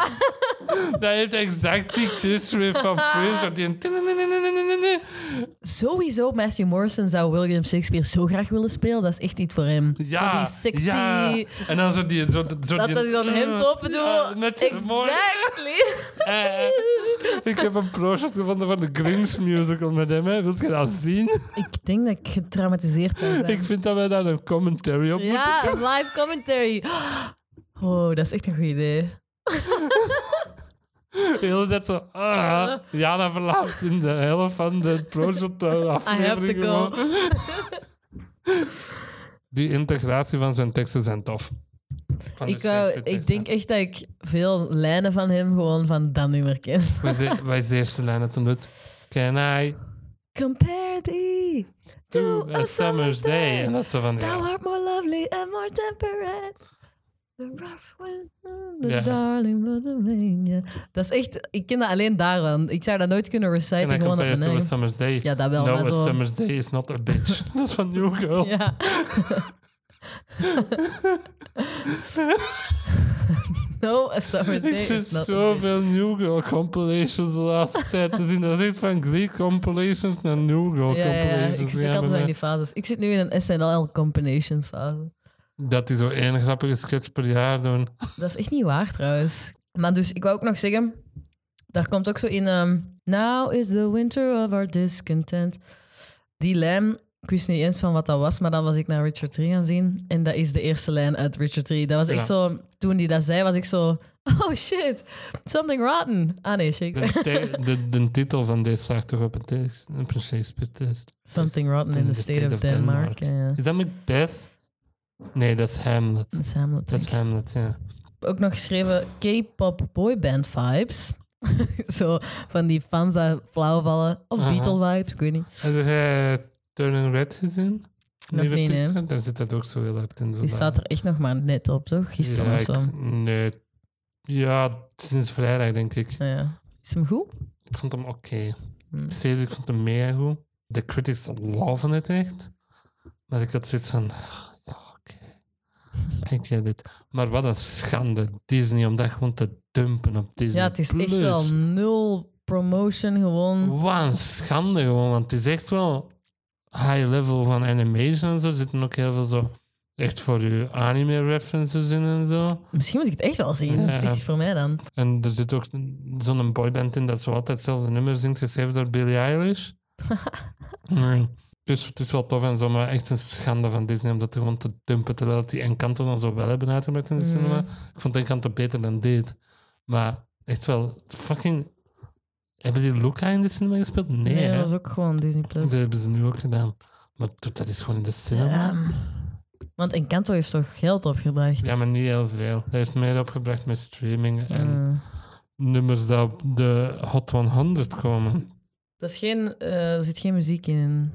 A: Dat heeft exact die Kiss Riff van Prince. dat die een-
B: Sowieso, Matthew Morrison zou William Shakespeare zo graag willen spelen. Dat is echt niet voor hem. zo die sexy...
A: ja. En dan zo die... Zo, zo
B: Dat
A: die,
B: dat hij zo'n hemd open doet.
A: Ja, met je morgen.
B: exactly.
A: Eh, (laughs) ik heb een pro-shot gevonden van de Grinch musical met hem. Hè. Wilt je dat zien?
B: ik denk dat ik getraumatiseerd zou zijn.
A: Ik vind dat wij daar een commentary op moeten.
B: ja, een live commentary. Oh, dat is echt een goed idee.
A: Heel dat zo. Ah, Jana verlaat in de helft van de pro-shot eh,
B: I
A: aflevering.
B: have to go.
A: gewoon. Die integratie van zijn teksten zijn tof. Van de
B: Ik, wou- ik
A: Shakespeare-teksten.
B: denk echt dat ik veel lijnen van hem gewoon van dat nummer ken.
A: Wat is de- wat is de eerste lijn dat hem doet? Can I
B: Compare thee
A: do a summer's day? En dat is zo van.
B: Thou
A: Ja.
B: art more lovely and more temperate. The rough wind, the
A: Ja.
B: darling Pennsylvania. Dat is echt... Ik ken dat alleen daarvan. Ik zou dat nooit kunnen
A: Can I
B: reciten. Gewoon op
A: compare
B: mijn
A: it to a
B: eigen-
A: summer's day?
B: Ja, dat wel.
A: No,
B: maar
A: a
B: zo... (laughs)
A: summer's day is not a bitch. dat is van New Girl.
B: Ja. (laughs) No,
A: (laughs)
B: a summer day.
A: (laughs) Ik zit
B: is not a day.
A: zoveel New Girl compilations de
B: (laughs)
A: laatste tijd te zien. Dat is echt van Glee compilations naar New Girl
B: Ja, ja, ja,
A: compilations.
B: ik zit
A: Ja,
B: ook altijd
A: maar
B: zo in die fases. Ik zit nu in een SNL combinations fase.
A: Dat die zo één grappige sketch per jaar
B: (laughs)
A: doen.
B: Dat is echt niet waar trouwens. Maar dus, ik wou ook nog zeggen, daar komt ook zo in. ehm, Now is the winter of our discontent. Die lijn, ik wist niet eens van wat dat was, maar dan was ik naar Richard 3 gaan zien. En dat is de eerste lijn uit Richard 3. Dat was echt
A: Ja.
B: zo, toen die dat zei, was ik zo. Oh shit, something rotten. Ah nee, shake.
A: De, te- de, de titel van deze slaat toch op een, tekst, op een Shakespeare-test.
B: (laughs) Something rotten in the state of Denmark. Ja, ja.
A: Is dat Macbeth? Nee, dat is Hamlet.
B: Dat is
A: Dat
B: Hamlet. denk
A: is
B: ik.
A: Hamlet, ja.
B: ook nog geschreven K-pop boyband vibes. (laughs) Zo van die fans die flauw vallen. Of
A: Aha.
B: Beatle vibes, ik weet niet.
A: Heb jij Turning Red gezien?
B: Nog
A: Nieuwe
B: niet,
A: Pixar?
B: nee.
A: Daar zit dat ook zo heel hard in. zo
B: Die
A: daar.
B: staat er echt nog maar net op, toch? Gisteren
A: eh, ja,
B: of zo.
A: ik- Nee. Ja, sinds vrijdag denk ik.
B: Ja, ja. Is hem goed?
A: Ik vond hem oké.
B: Hmm.
A: Steeds, ik vond hem mega goed. De critics loven het echt. Maar ik had zoiets van... Ja, oké.
B: (laughs)
A: Ik get it. Maar wat een schande. Disney, om dat gewoon te dumpen op Disney+.
B: Ja, het is echt
A: Plus. Oh.
B: wel nul promotion, gewoon.
A: Wat een schande gewoon, want het is echt wel high level van animation en zo. Er zitten ook heel veel zo echt voor je anime references in en zo.
B: Misschien moet ik het echt wel zien. Dat is
A: Ja.
B: echt iets voor mij dan.
A: En er zit ook zo'n boyband in dat zo altijd hetzelfde nummer zingt, geschreven door Billie
B: (laughs)
A: Eilish. nee. Dus het is wel tof en zo, maar echt een schande van Disney om dat gewoon te dumpen, terwijl dat die Encanto dan zo wel hebben uitgebracht
B: Mm.
A: in de cinema. Ik vond Encanto beter dan dit. Maar echt wel, fucking... Hebben die Luca in de cinema gespeeld? Nee,
B: Nee,
A: hè?
B: dat is ook gewoon Disney+. Plus.
A: Dat hebben ze nu ook gedaan. Maar doe dat is gewoon in de cinema. Ja,
B: Want Encanto heeft toch geld opgebracht?
A: maar niet heel veel. Hij heeft meer opgebracht met streaming en
B: Mm.
A: nummers die op de Hot 100 komen.
B: Dat is geen, eh, er zit geen muziek in.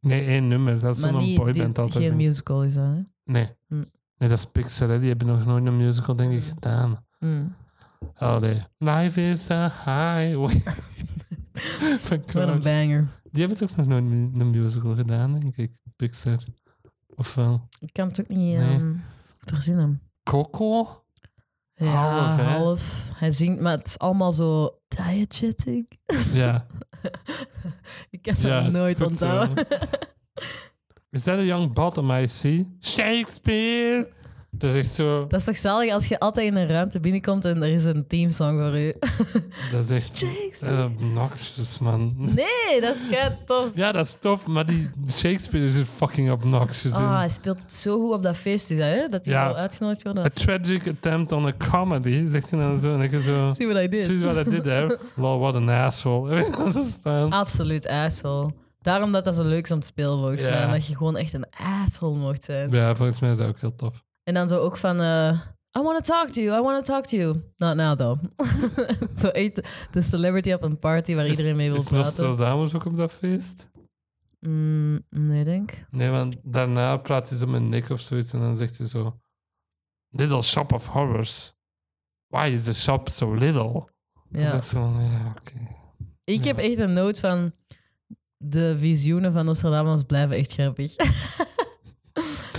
A: Nee, één nummer. Dat is
B: maar
A: zo'n
B: niet, die-
A: boyband
B: die,
A: altijd.
B: geen
A: in.
B: musical is dat, hè?
A: Nee.
B: Hm.
A: Nee, dat is Pixar. hè. Die hebben nog nooit een musical, denk ik, gedaan.
B: Mm.
A: Allee. Life is a highway. (laughs) Van
B: Wat een
A: Cars.
B: banger.
A: Die hebben toch nog nooit mu- een musical gedaan, denk ik. Pixar. Of wel?
B: Ik kan het ook niet
A: Nee.
B: ehm, verzinnen.
A: Coco?
B: Ja,
A: Half,
B: half,
A: hè?
B: Hij zingt, maar het is allemaal zo diegetic.
A: (laughs) Ja.
B: (laughs) Ik kan
A: Ja,
B: dat
A: is
B: nooit
A: goed zo.
B: onthouden.
A: (laughs)
B: (laughs)
A: Is that a young bottom I see? Shakespeare! Dat is echt zo...
B: Dat is toch zalig als je altijd in een ruimte binnenkomt en er is een teamsong voor u. (laughs)
A: Dat is echt...
B: Shakespeare.
A: Dat is obnoxious, man.
B: Nee, dat is kei tof.
A: Ja, dat is tof, maar die Shakespeare is er fucking obnoxious in.
B: Ah, hij speelt het zo goed op dat feest, is dat, hè? dat hij
A: Ja.
B: zo uitgenodigd wordt. (laughs)
A: A tragic attempt on a comedy, zegt hij dan zo. En ik
B: (laughs)
A: zo...
B: See what I did.
A: Precies wat hij did, hè. Lol, what an asshole. (laughs) Weet je, dat is fijn.
B: Absoluut asshole. Daarom dat dat zo leuk is om te spelen, volgens
A: Ja.
B: mij. Dat je gewoon echt een asshole mocht zijn.
A: Ja, volgens mij is dat ook heel tof.
B: En dan zo ook van... eh, I want to talk to you, I want to talk to you. Not now, though. (laughs) zo echt de celebrity op een party waar iedereen mee wil
A: is, is
B: praten.
A: Nostradamus ook op dat feest?
B: Mm, nee, denk ik.
A: Nee, want daarna praat hij zo met Nick of zoiets en dan zegt hij zo... Little shop of horrors. Why is the shop so little? Dan
B: Ja.
A: zeg ik zo van, ja, oké.
B: Ik heb echt een noot van... De visioenen van Nostradamus blijven echt grappig. (laughs)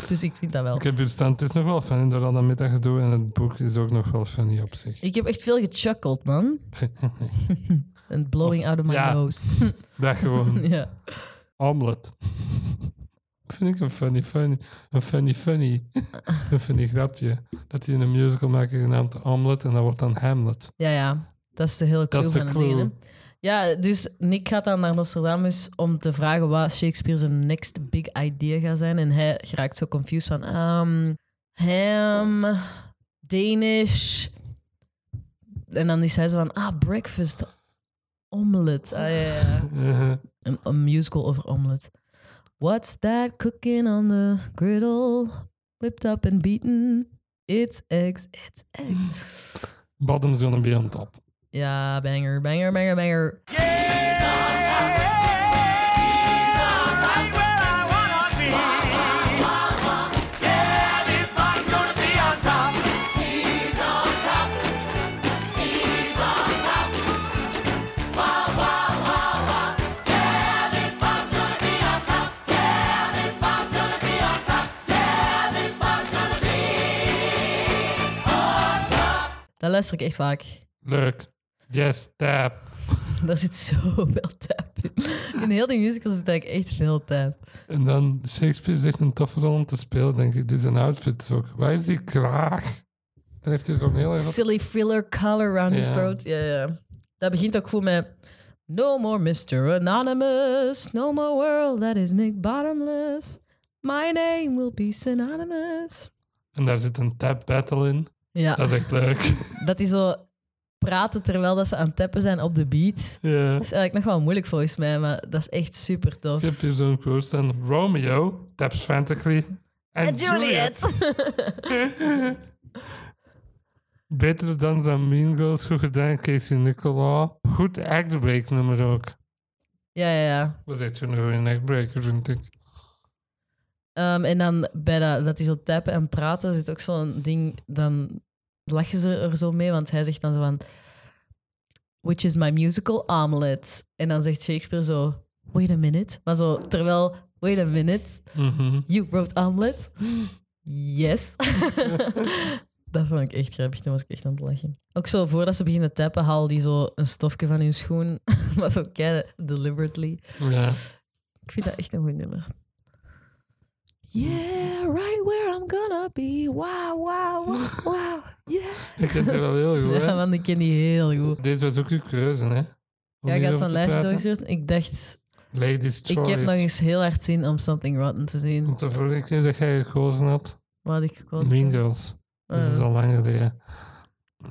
B: dus ik vind dat wel.
A: Ik heb hier staan, het is nog wel funny door al dat middaggedoe en het boek is ook nog wel funny op zich.
B: Ik heb echt veel gechuckled,
A: (laughs)
B: man. (laughs) En blowing out of my
A: ja.
B: nose. (laughs)
A: Dat gewoon.
B: ja.
A: Omelet. (laughs) Vind ik een funny, funny, een funny, funny, (laughs) een funny grapje. Dat die in een musical maken genaamd Omelet en dat wordt dan Hamlet.
B: Ja, ja. Dat is de hele clue
A: Dat is de
B: van het
A: clue.
B: ding, hè. Ja, dus Nick gaat dan naar Nostradamus om te vragen wat Shakespeare zijn next big idea gaat zijn. En hij raakt zo confused van... ehm, ham, Danish... En dan is hij zo van... Ah, breakfast. Omelet. Ah, ja, ja.
A: Eh, (laughs)
B: Een, een musical over omelet. What's that cooking on the griddle? Whipped up and beaten. It's eggs, it's eggs.
A: bottom's gonna be on top.
B: Ja, banger, banger, banger, banger.
D: Right where I wanna be. Yeah, this body's gonna be on top. He's on top. He's on top. Wow, wow, wow, wow. Yeah, this body's gonna be on top. Yeah, this body's gonna be on top. Yeah.
B: Dat luister ik echt vaak.
A: Leuk. Yes, tap.
B: Daar zit zoveel tap in. In heel die musical zit eigenlijk echt veel tap.
A: En dan Shakespeare is echt een toffe rol om te spelen, denk ik. Dit is een outfit ook. Waar is die kraag? En heeft hij zo'n heel erg.
B: Silly filler color round his
A: Ja.
B: throat. Ja, ja. ja. Dat begint ook goed met... No more Mr. Anonymous. No more world that is Nick Bottomless. My name will be synonymous.
A: En daar zit een tap battle in.
B: Ja,
A: Dat is echt leuk. (laughs)
B: dat die zo praten terwijl dat ze aan het tappen zijn op de beat.
A: ja.
B: Dat is eigenlijk nog wel moeilijk volgens mij, maar dat is echt super tof.
A: Ik heb hier zo'n quote staan. Romeo taps frantically. En Juliet. Beter dan dan Mean Girls. Goed gedaan, Casey Nicola. Goed actbreak nummer ook.
B: Ja, ja, ja.
A: Was echt zo'n goede actbreaker, vind ik.
B: Ehm, en dan bij dat, dat die zo tappen en praten zit ook zo'n ding, dan lachen ze er zo mee, want hij zegt dan zo van... Which is my musical omelet. En dan zegt Shakespeare zo... Wait a minute. Maar zo, terwijl... Wait a minute.
A: Mhm.
B: You wrote omelet? Yes. (laughs) dat vond ik echt grappig. Toen was ik echt aan het lachen. Ook zo, voordat ze beginnen te tappen, haal die zo een stofje van hun schoen. (laughs) maar zo kei deliberately.
A: Ja.
B: Ik vind dat echt een goed nummer. Yeah, right where I'm gonna be. Wow, wow, wow, wow. Yeah.
A: Ik vind het wel heel goed,
B: (laughs) Ja,
A: hè?
B: man, ik ken die heel goed.
A: Deze was ook uw keuze, hè? Om
B: Ja, ik had
A: hierover
B: zo'n
A: te
B: lijstje
A: praten.
B: doorgestuurd. Ik dacht,
A: Ladies'
B: ik
A: Choice.
B: heb nog eens heel hard zin om Something Rotten te zien.
A: Want de vorige keer dat jij gekozen had,
B: Wat ik gekozen
A: Mean
B: heb.
A: Girls.
B: Ah,
A: Dat is al lang geleden.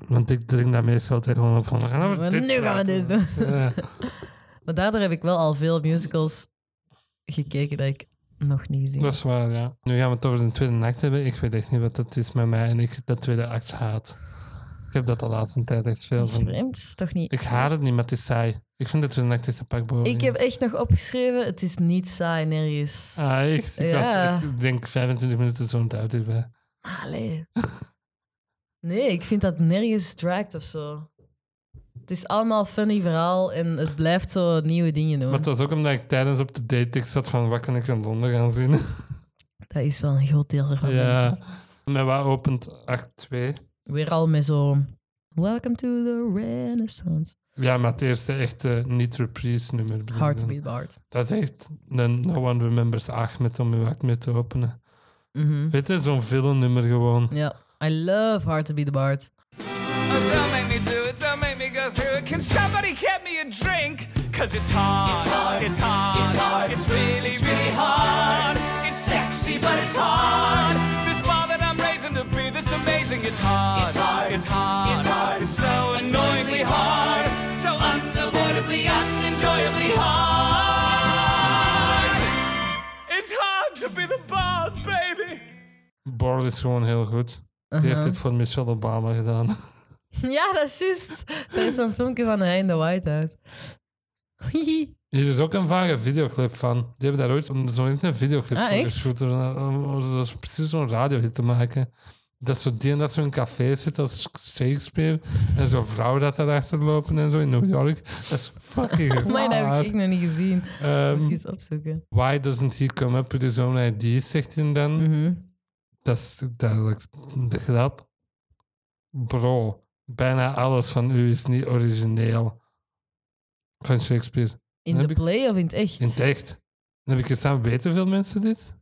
A: Want ik drink daar meestal altijd gewoon op van... We gaan over
B: Maar
A: dit
B: nu gaan we
A: praten.
B: dit doen. (laughs)
A: Ja.
B: Maar daardoor heb ik wel al veel musicals gekeken dat ik nog niet zie.
A: Dat is waar, ja. Nu gaan we het over de tweede act hebben. Ik weet echt niet wat dat is met mij en ik dat tweede act haat. Ik heb dat de laatste tijd echt veel
B: Dat is
A: van.
B: vreemd, dat is toch niet...
A: Ik haat het niet, maar het is saai. Ik vind de tweede act echt een pak boven.
B: Ik heb echt nog opgeschreven, het is niet saai nergens.
A: Ah, echt? Ik,
B: Ja.
A: was, ik denk 25 minuten zo'n tijd hierbij.
B: Allee. Nee, ik vind dat nergens draagt of zo. Het is allemaal een funny verhaal en het blijft zo nieuwe dingen doen.
A: Maar het was ook omdat ik tijdens op de date ik zat van wat kan ik in Londen gaan zien. (laughs)
B: Dat is wel een groot deel ervan. denk
A: ja.
B: ik.
A: Met wat opent act 2?
B: Weer al met zo... Welcome to the Renaissance.
A: Ja, maar het eerste echte niet-reprise nummer. bedoel ik
B: Hard to
A: dan.
B: beat hard.
A: Dat is echt een No One Remembers Ahmed om uw act mee te openen.
B: Mhm.
A: Weet je, zo'n filmnummer gewoon.
B: Ja, I love hard to beat hard.
G: Oh, don't make me do it, don't make me go through it. Can somebody get me a drink? Cause it's hard, it's hard, it's hard, it's hard, it's really, really hard. It's sexy, but it's hard. This bar that I'm raising to be this amazing is hard, it's hard, it's hard, it's hard, it's so annoyingly hard, so unavoidably, unenjoyably hard. It's hard to be the bard, baby.
A: Borl is gewoon heel goed. Die
B: Uh-huh.
A: heeft dit voor Michelle Obama gedaan.
B: (laughs)
A: (laughs)
B: Ja, dat is juist. Er is een filmpje van hij in de White House. (laughs)
A: Hier is ook een vage videoclip van. Die hebben daar ooit zo'n zo'n een videoclip
B: Ah,
A: voor
B: echt?
A: geschoten. Om- om- Dat is precies zo'n radiohit te maken. Dat zo die en dat zo'n café zit als Shakespeare. En zo'n vrouw dat daarachter lopen en zo in New York. Dat is fucking
B: (laughs) maar dat
A: raar.
B: heb ik nog niet gezien.
A: Ehm,
B: Moet ik eens opzoeken.
A: why doesn't he come up with his own ideas, zegt hij dan.
B: Mhm.
A: Dat is duidelijk de grap. Bro, bijna alles van u is niet origineel. Van Shakespeare.
B: In
A: Heb
B: de
A: ik-
B: play of in het echt?
A: In het echt. Dan heb ik gestaan, weten veel mensen dit?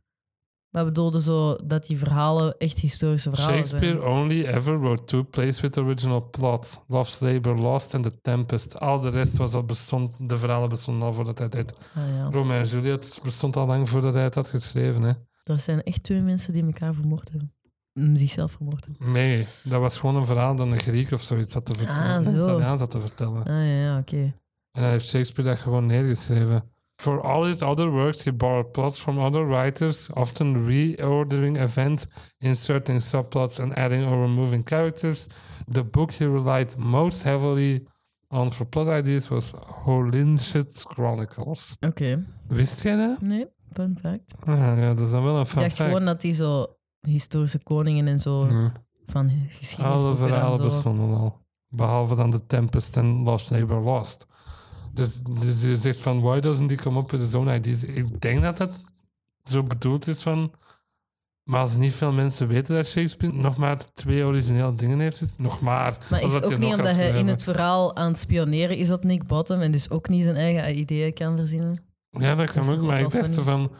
B: Maar bedoelde zo dat die verhalen echt historische verhalen
A: Shakespeare
B: zijn.
A: only ever wrote two plays with original plots. Love's Labor Lost and The Tempest. Al de rest was al bestond, de verhalen bestonden al voordat hij het deed.
B: Ah, ja.
A: Romeo en Juliet bestond al lang voordat hij het had geschreven. Hè.
B: Dat zijn echt twee mensen die elkaar vermoord hebben. Mm, Zichzelf vermoord hebben.
A: Nee, dat was gewoon een verhaal dat een Griek of zoiets had te vertellen.
B: Ah, zo.
A: Italiaans had te vertellen.
B: Ah ja, ja, oké.
A: En hij heeft Shakespeare dat gewoon neergeschreven. For all his other works, he borrowed plots from other writers, often reordering events, inserting subplots and adding or removing characters. The book he relied most heavily on for plot ideas was Holinshed Chronicles.
B: Oké.
A: Wist jij dat?
B: Nee, fun fact.
A: Ah, ja, dat is dan wel een
B: Ik
A: fun
B: dacht
A: fact.
B: gewoon dat die zo historische koningen en zo
A: Hm.
B: van geschiedenis.
A: Alle verhalen bestonden al. Behalve dan The Tempest en Lost Neighbor Lost. Dus, dus je zegt van, why doesn't he come up with his own ideas? Ik denk dat dat zo bedoeld is van... Maar als niet veel mensen weten dat Shakespeare nog maar twee originele dingen heeft, zitten, nog maar.
B: Maar
A: als
B: is
A: dat
B: ook
A: hij
B: niet
A: nog
B: omdat
A: gaat
B: hij in
A: schrijven.
B: het verhaal aan het spioneren is op Nick Bottom en dus ook niet zijn eigen ideeën kan verzinnen.
A: Ja, dat kan
B: is
A: ook,
B: ook
A: maar
B: Dus wel
A: ik dacht
B: funny.
A: zo van...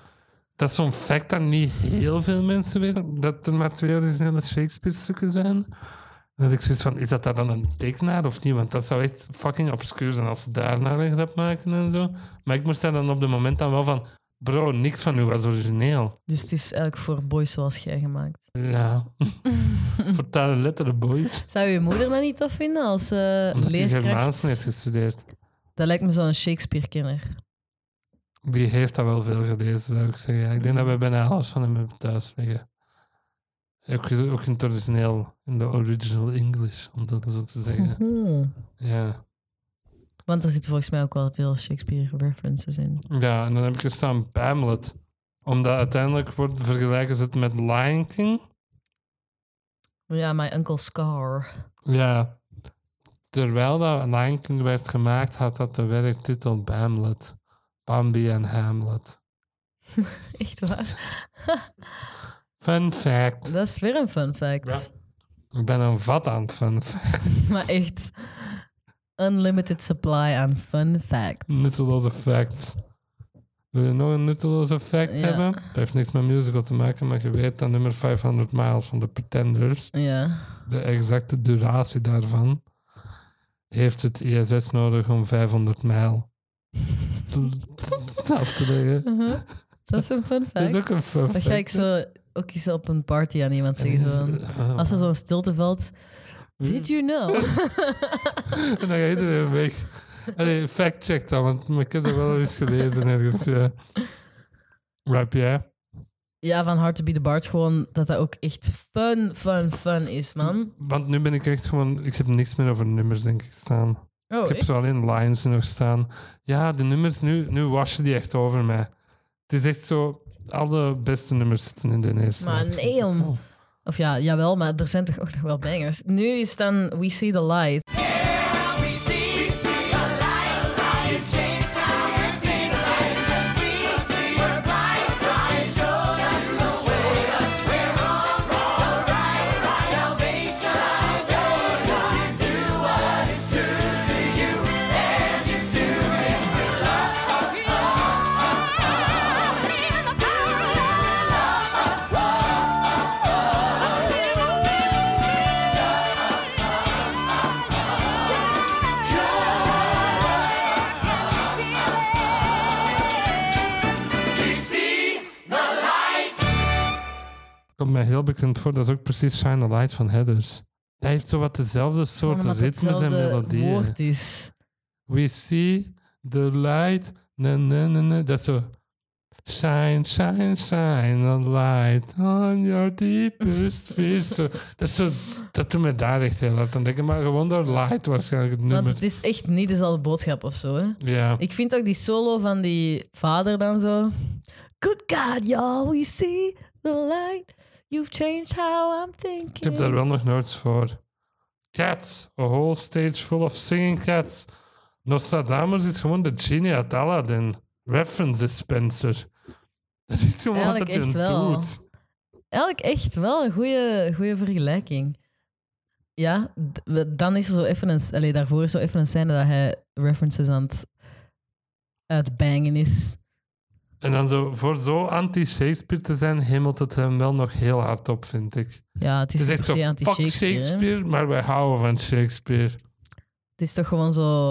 A: Dat is zo'n fact dat niet heel veel mensen weten, dat er maar twee originele Shakespeare-stukken zijn. Dat ik zoiets van, is dat daar dan een tekenaar of niet? Want dat zou echt fucking obscuur zijn als ze daarna een grap maken en zo. Maar ik moest daar dan op de moment dan wel van... Bro, niks van u was origineel.
B: Dus het is eigenlijk voor boys zoals jij gemaakt. (laughs)
A: Ja. Vertalen letteren, boys.
B: Zou je moeder dat niet tof vinden als eh,
A: Omdat hij
B: leerkracht?
A: Germaans heeft gestudeerd.
B: Dat lijkt me zo'n Shakespeare-kenner.
A: Die heeft dat wel veel gelezen, zou ik zeggen. Ja, ik denk dat we bijna alles van hem hebben thuis liggen. Ook, ook in het origineel, in de original English, om dat zo te
B: (laughs)
A: zeggen.
B: Hmm.
A: Ja.
B: Want er zitten volgens mij ook wel veel Shakespeare-references in.
A: ja, en dan heb ik er staan Hamlet. Omdat uiteindelijk wordt, vergelijken ze het met Lion King.
B: Ja, My Uncle Scar. (laughs)
A: Ja. Terwijl dat Lion King werd gemaakt, had dat de werktitel Hamlet. Bambi en Hamlet.
B: Echt waar?
A: Fun fact.
B: Dat is weer een fun fact.
A: Ik ben een vat aan fun fact.
B: (laughs) Maar echt, unlimited supply aan fun facts.
A: Nutteloze fact. Wil je nog een nutteloze fact
B: Ja.
A: hebben? Dat heeft niks met musical te maken, maar je weet dat nummer 500 miles van de Pretenders,
B: Ja.
A: de exacte duratie daarvan, heeft het ISS nodig om 500 mijl (laughs) af te leggen.
B: (laughs) Dat is een fun
A: Mhm. (laughs) Dat is
B: fact.
A: ook een fun
B: Dat ga ik zo ook eens op een party aan iemand zeggen. Zo.
A: (laughs) Ah.
B: Als er zo'n stilte valt.
A: Mhm.
B: Did you know? (laughs)
A: En dan ga iedereen weg. Allee, fact check dan, want ik heb er wel eens gelezen ergens. Ja. Wat heb jij?
B: Ja, van Hard to Be the Bard. Gewoon dat dat ook echt fun, fun, fun is, man.
A: Want nu ben ik echt gewoon... Ik heb niks meer over nummers, denk ik, staan.
B: Oh,
A: Ik heb zo alleen lines nog staan. Ja, de nummers, nu, nu was je die echt over mij. Het is echt zo, alle beste nummers zitten in de eerste. Oh,
B: Maar
A: uitvoering.
B: nee, om. Of ja, jawel, maar er zijn toch ook nog wel bangers. Nu is dan We See the Light.
A: Komt mij heel bekend voor, dat is ook precies Shine a Light van Headers. Hij heeft zo wat dezelfde soort
B: Omdat
A: ritmes
B: het
A: en
B: hetzelfde
A: melodieën.
B: woord is.
A: We see the light. Na, na, na, na. Dat is zo. Shine, shine, shine a light on your deepest fears. Zo, dat, is zo, dat doet me daar echt heel hard aan denken. Maar gewoon door light waarschijnlijk het
B: Want
A: nummer.
B: het is echt niet dezelfde boodschap of zo. Hè?
A: Ja.
B: Ik vind ook die solo van die vader dan zo. Good God, y'all, we see the light. You've changed how I'm thinking.
A: Ik heb daar wel nog notes voor. Cats, a whole stage full of singing cats. Nostradamus is gewoon de genie uit Aladdin. Reference (laughs) dispenser. Dat is gewoon
B: Eigenlijk
A: wat
B: echt
A: het
B: wel.
A: doet.
B: Eigenlijk echt wel een goede vergelijking. Ja, d- we- dan is er zo even een... Allee, daarvoor is zo even een scène dat hij references aan het uitbangen is.
A: En dan zo, voor zo anti-Shakespeare te zijn, hemelt het hem wel nog heel hard op, vind ik.
B: Ja, het is,
A: Het is
B: niet
A: echt
B: per
A: zo,
B: se
A: fuck
B: anti-Shakespeare.
A: Shakespeare,
B: hè.
A: maar wij houden van Shakespeare.
B: Het is toch gewoon zo...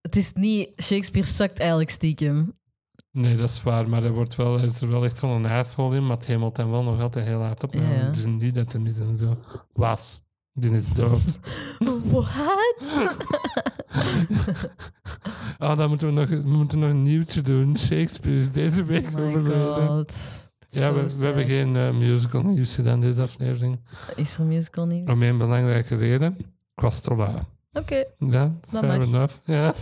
B: Het is niet... Shakespeare sukt eigenlijk stiekem.
A: Nee, dat is waar, maar hij, wordt wel, hij is er wel echt zo'n asshole in, maar het hemelt hem wel nog altijd heel hard op.
B: Ja.
A: Ja. Dus niet dat hem is en zo. Was, die is
B: (laughs)
A: dood.
B: What?
A: Ah, dan moeten we, nog, we moeten nog een nieuwtje doen. Shakespeare is deze week
B: Oh my
A: overleden.
B: god.
A: Ja,
B: Zo
A: we, we
B: sad.
A: hebben geen eh, musical nieuws gedaan deze aflevering.
B: Is er musical nieuws?
A: Om één belangrijke reden. Ik was te lui.
B: Oké.
A: Ja,
B: Dat
A: fair
B: mag.
A: enough.
B: (laughs)
A: Ja.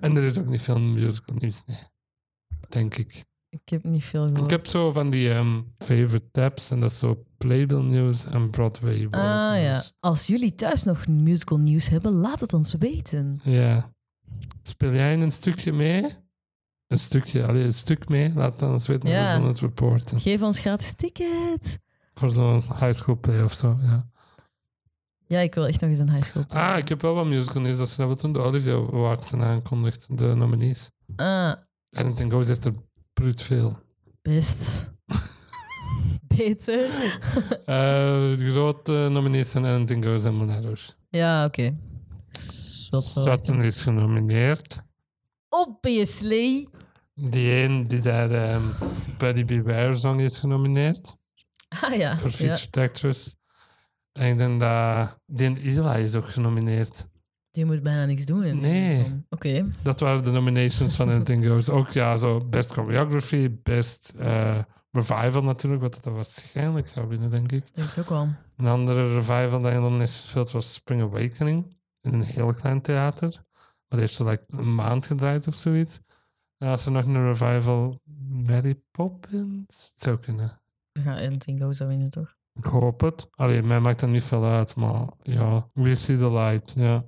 A: en er is ook niet veel musical nieuws, nee. Denk ik.
B: Ik heb niet veel gehoord.
A: Ik heb zo van die ehm, favorite tabs en dat is zo Playbill News en Broadway World
B: Ah ja.
A: News.
B: Als jullie thuis nog musical nieuws hebben, laat het ons weten.
A: Ja. Speel jij in een stukje mee? een stukje, allee, een stuk mee. Laat dan eens weten
B: Ja.
A: hoe ze het reporten.
B: Geef ons gratis tickets.
A: Voor zo'n high school play of zo, ja.
B: Ja, ik wil echt nog eens een high school.
A: Ah, ik heb wel wat musical nieuws. Dat ze dat wel toen de Olivia Awards zijn aangekondigd, de nominees.
B: Ah,
A: Anything Goes heeft er bruut veel.
B: best. (laughs) Beter. (laughs)
A: Eh, de grote nominees zijn Anything Goes en Moulin Rouge.
B: Ja, oké. Zot wel.
A: Sutton is genomineerd.
B: Obviously.
A: Die een die daar ehm Buddy Beware Song is genomineerd.
B: (laughs) Ah ja.
A: Voor
B: ja.
A: Featured Actress. En ik denk dat... Die Eli is ook genomineerd.
B: Die moet bijna niks doen. in die
A: Nee.
B: film. Oké.
A: Dat waren de nominations van Anything Goes. Ook ja, zo best choreography, best eh, revival natuurlijk, wat dat waarschijnlijk gaat winnen, denk ik.
B: Denk het ook wel.
A: Een andere revival dat in Londen is gespeeld was Spring Awakening. In een heel klein theater. Maar die heeft zo like, een maand gedraaid of zoiets. En als er nog een revival Mary Poppins het zou kunnen.
B: We gaan Anything Goes daar winnen, toch?
A: Ik hoop het. Allee, mij maakt dat niet veel uit, maar ja, we see the light. Ja.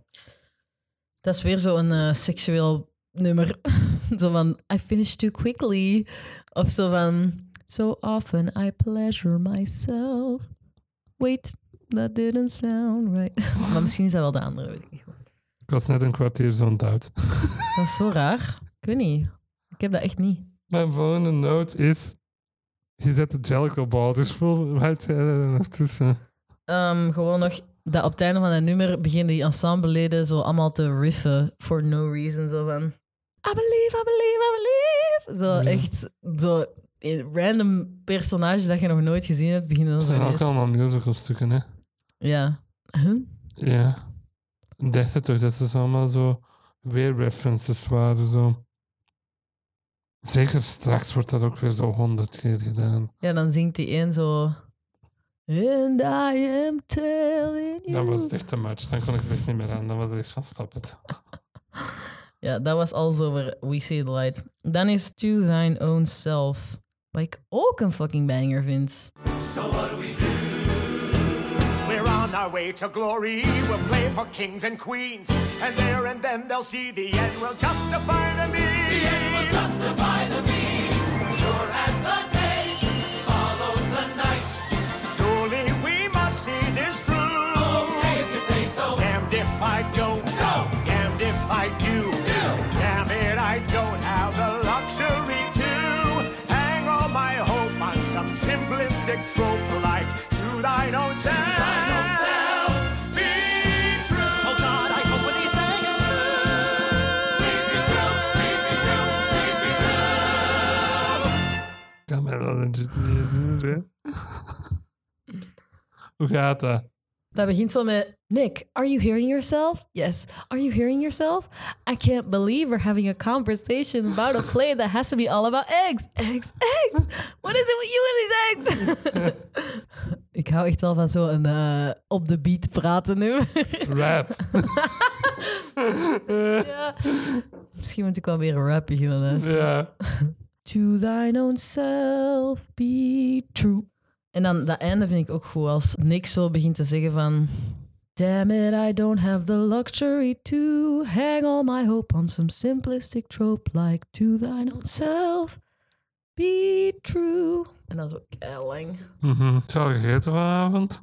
B: Dat is weer zo'n eh, seksueel nummer. (laughs) zo van, I finish too quickly. Of zo van, so often I pleasure myself. Wait, that didn't sound right. (laughs) maar misschien is dat wel de andere, weet ik niet. goed.
A: Ik was net een kwartier zo'n uit.
B: Dat is zo raar. Ik weet niet. Ik heb dat echt niet.
A: Mijn volgende noot is... Je zet de Jellicle Ball, dus voel (laughs) mij eh, tussen.
B: Ehm, gewoon nog dat op het einde van dat nummer beginnen die ensembleleden zo allemaal te riffen for no reason. Zo van, I believe, I believe, I believe. Zo echt zo in- random personages dat je nog nooit gezien hebt beginnen dan
A: Dat
B: zo
A: zijn ook
B: ineens.
A: allemaal musicalstukken, hè.
B: Ja. Huh?
A: Ja. Dacht het toch, dat ze allemaal zo weer references waren. Zo. Zeker straks wordt dat ook weer zo honderd keer gedaan.
B: Ja, dan zingt die één zo... And I am telling you.
A: Dat was echt een match. Dan kon ik het echt niet meer aan. Dan was er iets van stop (laughs) het.
B: Ja, dat was alles over We See the Light. Dan is To Thine Own Self. Wat ik ook een fucking banger vind.
F: We're on our way to glory. We'll play for kings and queens. And there and then they'll see the end will justify the means. The end will justify the means. Sure as the day follows the night. Surely we must see this through. Okay, if you say so. Damned if I don't. Go. Damned if I do. Do. Damn it, I don't have the luxury to hang all my hope on some simplistic trope like to thine own self. Be true. Oh God, I hope what he sang is
A: Ik kan mij dat legit niet doen, hè. (laughs) Hoe gaat dat?
B: Dat begint zo met... Nick, are you hearing yourself? Yes. Are you hearing yourself? I can't believe we're having a conversation about a play that has to be all about eggs. Eggs, eggs. What is it with you and these eggs? ik hou echt wel van zo'n eh op de beat praten nummer. (laughs)
A: Rap.
B: Ja. (laughs) Misschien moet ik wel weer een rap beginnen. hè.
A: ja.
B: To thine own self be true. En dan dat einde vind ik ook goed. Als Nick zo begint te zeggen van... Damn it, I don't have the luxury to hang all my hope on some simplistic trope like to thine own self be true. En dan zo kelling.
A: Mhm. Ik zal gegeten vanavond.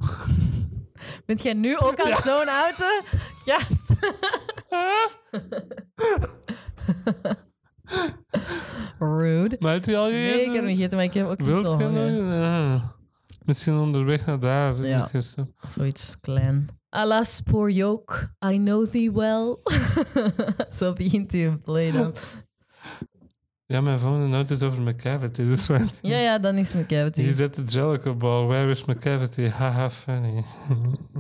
B: Bent jij nu ook aan zo'n auto? Yes. Rude.
A: Maar heeft u al
B: Nee, ik heb
A: gegeten?
B: niet gegeten, maar ik heb ook niet
A: Wilt
B: zo
A: je nog?
B: honger.
A: Ja. Misschien onderweg naar daar.
B: Ja.
A: niet gisteren.
B: Zoiets klein. Alas, poor yoke, I know thee well. (laughs) zo begint hij een play dan.
A: Ja, mijn volgende noot is over mijn cavity. Dus (laughs) waar-
B: Ja, ja, dan is mijn
A: Je
B: cavity.
A: zet de Jellicle Ball. oh, Where is my cavity? Haha,
B: (laughs)
A: funny.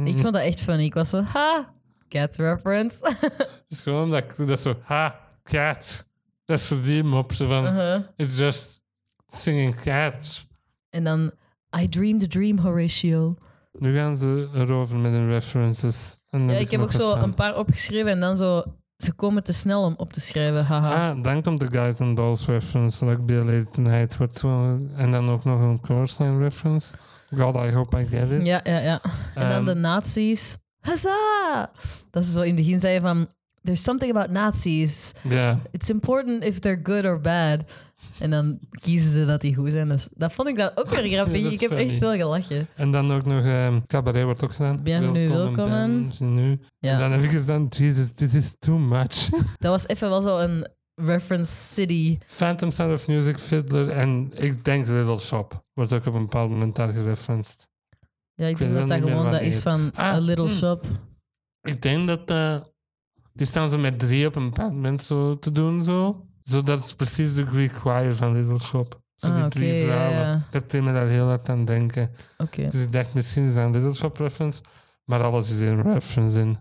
B: Ik vond dat echt funny. Ik was zo, ha, cats reference. (laughs)
A: Het is gewoon dat, dat zo, ha, cats. Dat is voor die mop. Zo van,
B: Uh-huh.
A: it's just singing cats.
B: en dan, I dream the dream, Horatio.
A: Nu gaan ze erover met hun references. En dan
B: Ja,
A: heb
B: ik heb
A: nog
B: ook zo
A: gestaan.
B: een paar opgeschreven en dan zo, ze komen te snel om op te schrijven, haha.
A: Ah, dan komt de Guys and Dolls reference, like Be a Lady Tonight. wordt zo- En dan ook nog een chorus line reference. God, I hope I get it.
B: Ja, ja, ja. En dan
A: Ah. Ehm,
B: de nazi's. Huzzah! Dat ze zo in het begin zeiden van... there's something about Nazis.
A: Ja.
B: It's important if they're good or bad. En dan kiezen ze dat die goed zijn. Dus dat vond ik dan ook weer grappig.
A: (laughs) Ja, dat is
B: ik heb echt
A: funny.
B: wel gelachen.
A: En dan ook nog ehm, Cabaret wordt ook gedaan.
B: Bienvenue, welkom.
A: Bienvenue.
B: Ja.
A: En dan heb ik gezegd, Jesus, this is too
B: (laughs)
A: much.
B: Dat was even wel zo een reference city.
A: Phantom Sound of Music, Fiddler en ik denk Little Shop wordt ook op een bepaald moment daar gereferenced.
B: Ja, ik
A: weet
B: denk
A: wel
B: dat dat
A: niet meer
B: gewoon dat
A: wanneer.
B: is van
A: Ah,
B: A Little
A: hm.
B: Shop.
A: Ik denk dat eh, die staan ze met drie op een bepaald moment zo te doen zo. Zo dat is precies de Greek choir van Little Shop. Zo
B: Ah,
A: die
B: oké,
A: drie
B: ja,
A: vrouwen.
B: ja.
A: Dat deed me daar heel hard aan denken.
B: Oké.
A: Dus ik dacht misschien is dat een Little Shop reference, maar alles is een reference in.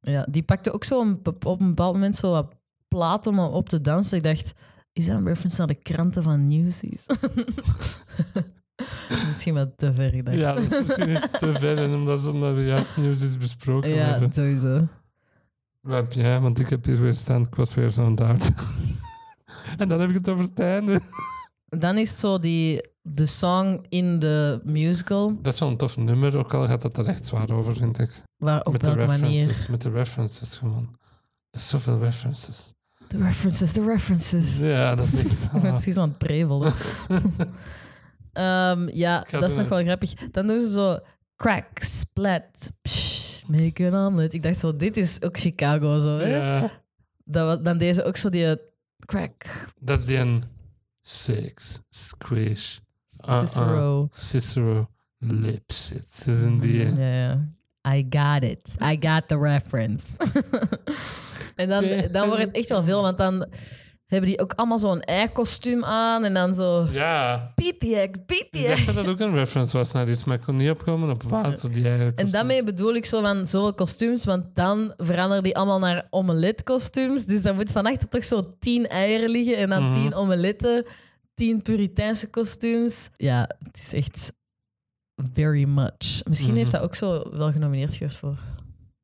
B: Ja, die pakte ook zo een, bep- op een bepaald moment zo wat plaat om op te dansen. Ik dacht, is dat een reference naar de kranten van Newsies? (laughs) Misschien wat te ver gedacht.
A: Ja, dat is misschien iets te ver en omdat, ze- omdat we juist nieuws is besproken
B: ja
A: hebben.
B: sowieso.
A: Wat heb jij? Want ik heb hier weer staan, ik was weer zo'n doubt. (laughs) en dan heb ik het over het einde.
B: Dan is zo die, de song in de musical,
A: (laughs) Dat is wel een tof nummer, ook al gaat dat er echt zwaar over, vind ik.
B: waar op
A: met de
B: welke
A: references,
B: manier...
A: met de references gewoon. Er is zoveel references.
B: De references, de references.
A: Ja, (laughs) dat is echt...
B: (laughs) Ik ben
A: ah.
B: precies aan het prevelen.
A: (laughs)
B: Ehm, ja,
A: ga
B: dat is
A: doen.
B: nog wel grappig. Dan doen ze zo crack, splat, psh, make an omelet. Ik dacht zo, dit is ook Chicago zo. Hè?
A: Ja,
B: Dat wa- dan deden ze ook zo die eh, crack,
A: dat is die een... Six, squish, Uh-uh.
B: Cicero.
A: Cicero, Mm, lips. Het is in die...
B: Ja, ja. I got it. I got the reference. (laughs) en dan, dan wordt het echt wel veel, want dan hebben die ook allemaal zo'n ei-kostuum aan en dan zo...
A: Ja,
B: Pietiek,
A: Ik
B: pietiek.
A: dacht dat dat ook een reference was naar iets, maar ik kon niet opkomen op wat. Op die eigenlijk
B: En daarmee bedoel ik zo van zoveel kostuums, want dan veranderen die allemaal naar omeletkostuums. Dus dan moet van achter toch zo tien eieren liggen en dan tien omeletten, tien Puriteinse kostuums. Ja, het is echt very much. Misschien heeft dat ook zo wel genomineerd geweest voor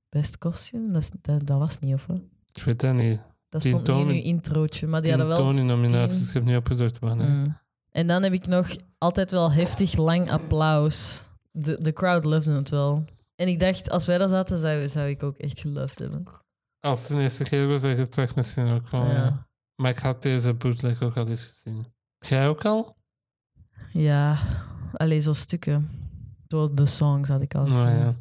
B: best kostuum. Dat, is- dat, dat was niet, of wat?
A: Ik weet dat niet.
B: Dat
A: Tien
B: stond niet in
A: Tony-
B: uw introotje, maar die
A: Die
B: hadden
A: Tony
B: wel
A: Tony-nominaties,
B: tien.
A: ik heb niet opgezocht eh. waar. nee.
B: Mm. En dan heb ik nog altijd wel heftig lang applaus. De, de crowd loved het wel. En ik dacht, als wij daar zaten, zou, zou ik ook echt geloved hebben.
A: Als het de eerste keer was, zeg ik het terug misschien ook wel. eh.
B: Ja.
A: Maar ik had deze bootleg ook al eens gezien. Jij ook al?
B: Ja, alleen zo stukken. Door de songs had ik al.
A: Nou
B: gezien.
A: ja.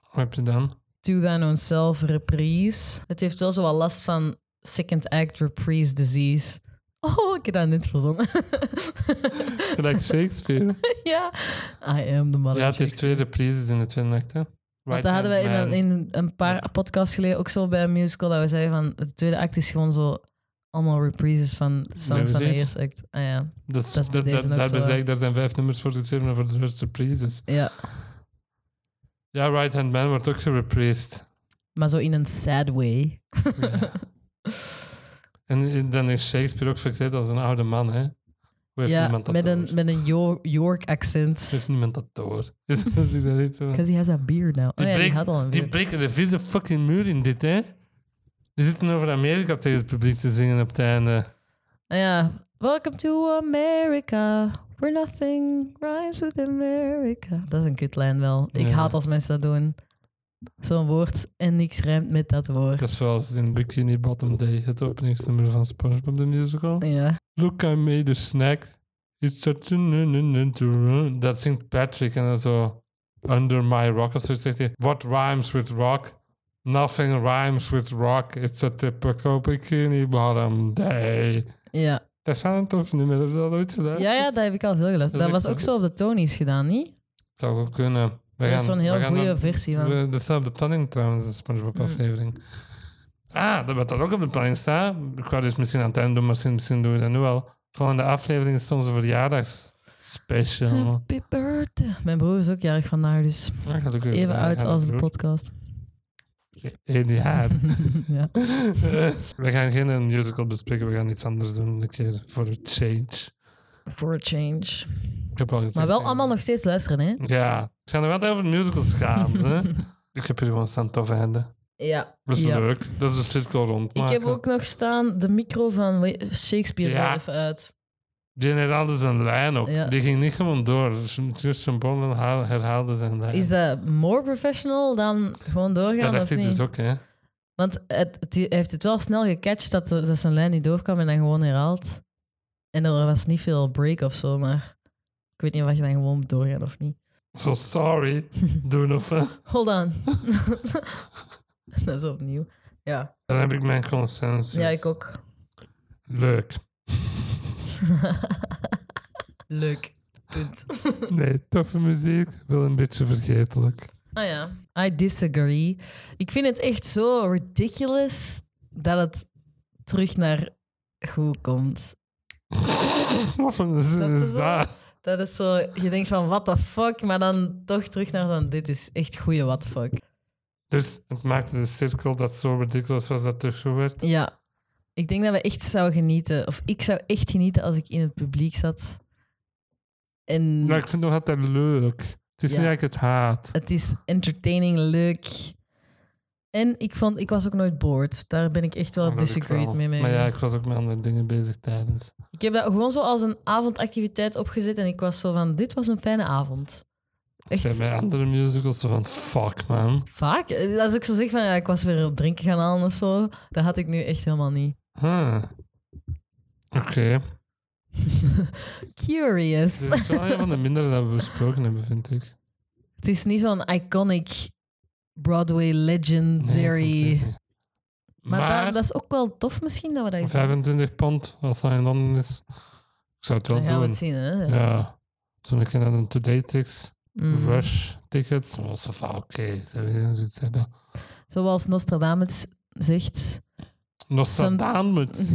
A: Wat heb je dan?
B: Do Thine Own Self, reprise. Het heeft wel zo wat last van second act reprise disease. Oh, ik heb dat net verzonnen. (laughs)
A: Gelijk Shakespeare.
B: ja, I am the mother
A: ja, het
B: of
A: heeft twee reprises in de tweede act, hè.
B: Want dat hadden wij in een, in een paar podcasts geleden ook zo bij een musical. Dat we zeiden van, de tweede act is gewoon zo allemaal reprises van songs van de
A: Melodies.
B: eerste act. Ah ja.
A: Dat,
B: dat is
A: dat,
B: bij
A: dat,
B: deze ook
A: daarbij
B: zo, hè.
A: zei ik, daar zijn vijf nummers voor geschreven en voor de rest reprises.
B: ja.
A: Ja, Right Hand Man wordt ook gereprised.
B: Maar zo in een sad way.
A: Ja. en eh, dan is Shakespeare ook verkleed als een oude man, hè? Hoe heeft
B: ja,
A: niemand dat
B: met
A: door?
B: een, met een Yo- York accent.
A: Heeft niemand dat door? (laughs) Is dat niet zo?
B: Because he has a beard now.
A: Die,
B: oh ja, die
A: breekt-
B: had al een
A: die
B: beard.
A: breken de vierde fucking muur in dit, hè? Die zitten over Amerika tegen het publiek te zingen op het einde.
B: Ah ja. Welcome to America. We're nothing rhymes with America. Dat is een kutlijn wel. Ik
A: Ja.
B: haat als mensen dat doen. Zo'n woord en niks rijmt met dat woord.
A: Dat is zoals in Bikini Bottom Day, het openingsnummer van SpongeBob the Musical.
B: Ja.
A: Look, I made a snack. It's such a... nu- nu- nu- to run. Dat zingt Patrick en dan zo... Under my rock of zoiets zegt hij... What rhymes with rock? Nothing rhymes with rock. It's a typical bikini bottom day.
B: Ja.
A: Dat is wel een tof nummer. Heb je dat ooit gedaan?
B: Ja, ja, dat heb ik al veel geluisterd.
A: Dat
B: Dat
A: is
B: was
A: ook
B: ook zo op de Tony's gedaan, niet?
A: Zou wel kunnen. We
B: dat is zo'n
A: we
B: heel
A: gaan
B: goede
A: dan-
B: versie van.
A: we- Dat staat op de planning trouwens, de Spongebob aflevering. Ah, dat wat dat ook op de planning staat. Ik wou dus misschien aan het einde doen, maar misschien, misschien doen we dat nu al. Volgende aflevering is onze verjaardagsspecial.
B: (laughs) Happy birthday. Mijn broer is ook jarig vandaag, dus
A: Ah, gelukkig.
B: even
A: Ja,
B: uit
A: ja,
B: als de
A: broer.
B: podcast. (laughs)
A: Eén jaar.
B: ja.
A: Eh, we gaan geen eh, musical bespreken, we gaan iets anders doen. Een keer voor de change.
B: For a change.
A: Ik heb al gezegd,
B: Maar wel
A: eh,
B: allemaal nog steeds luisteren, hè?
A: Ja, het gaan er wel over musicals gaan.
B: (laughs)
A: hè? Ik heb hier gewoon staan tof einde.
B: Ja.
A: Dat is
B: ja.
A: leuk. Dat is een cirkel
B: Ik
A: rondmaken.
B: heb ook nog staan de micro van We- Shakespeare
A: Ja.
B: wel even uit.
A: Die herhaalde zijn lijn ook.
B: Ja.
A: Die ging niet gewoon door. Dus Kirsten Bonden herhaalde zijn lijn.
B: Is dat more professional dan gewoon doorgaan?
A: dat
B: of
A: dacht ik
B: niet?
A: dus ook, hè.
B: Want het, het- hij heeft het wel snel gecatcht dat, de- dat zijn lijn niet doorkwam en dan gewoon herhaald. En er was niet veel break of zo, maar ik weet niet of je dan gewoon moet doorgaan of niet.
A: So
B: (laughs)
A: sorry. Doen of... eh,
B: Hold on. (laughs) dat is opnieuw. Ja,
A: Dan heb ik mijn consensus.
B: ja ik ook. (laughs)
A: Leuk.
B: Leuk. Punt.
A: Nee, toffe muziek. Wel een beetje vergetelijk. (laughs)
B: Ah ja, I disagree. Ik vind het echt zo ridiculous dat het terug naar goed komt.
A: Wat een zin
B: Dat is
A: is dat?
B: Dat is zo, je denkt van what the fuck, maar dan toch terug naar van dit is echt goeie what the fuck.
A: Dus het maakte de cirkel dat zo ridiculous was dat terug werd.
B: Ja, ik denk dat we echt zouden genieten, of ik zou echt genieten als ik in het publiek zat. En
A: Maar ik vind het nog altijd leuk. Het is
B: Ja.
A: niet dat ik het haat.
B: het is entertaining, leuk. En ik, vond, ik was ook nooit bored. Daar ben ik echt wel
A: Dat ik
B: disagreed
A: wel.
B: mee. mee.
A: Maar ja, ik was ook met andere dingen bezig tijdens.
B: Ik heb dat gewoon zo als een avondactiviteit opgezet en ik was zo van, dit was een fijne avond.
A: Echt?
B: Echt
A: Bij andere musicals zo van, fuck man.
B: vaak. Eh, Als ik zo zeg van, ja, ik was weer op drinken gaan halen of zo, dat had ik nu echt helemaal niet.
A: Huh. Oké.
B: Curious.
A: Dit is wel een van de mindere dat we besproken hebben, vind ik.
B: Het is niet zo'n iconic Broadway
A: Nee,
B: legendary.
A: vond ik niet.
B: maar da-
A: Maar,
B: dat is ook wel tof misschien dat we dat eens doen.
A: 25 pond, als dat in Londen is, ik zou het wel
B: Dan gaan we
A: doen.
B: het zien, hè?
A: Ja. Toen ik naar een Today Tickets,
B: Mm.
A: Rush Tickets, dan was het van, oké, zou je zoiets hebben?
B: Zoals Nostradamus zegt. (laughs)
A: Nostradamus.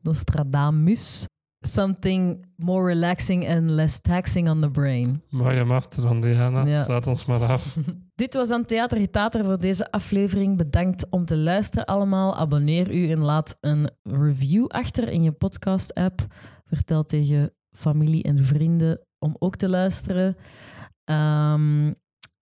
B: Nostradamus. Something more relaxing and less taxing on the brain.
A: Mooi hem af te ronden, Jana.
B: Ja.
A: Slaat ons maar
B: (laughs)
A: af.
B: Dit was dan Theater Getater voor deze aflevering. Bedankt om te luisteren allemaal. Abonneer u en laat een review achter in je podcast-app. Vertel tegen familie en vrienden om ook te luisteren. Ehm,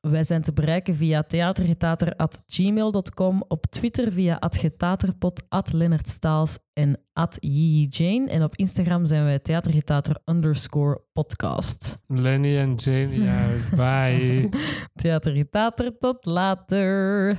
B: wij zijn te bereiken via theatergetater.gmail.com, op Twitter via @getaterpod, Lennart Staals en Yee Jane. En op Instagram zijn wij theatergetater underscore podcast.
A: Lenny en Jane, ja, bye.
B: Theatergetater, tot later!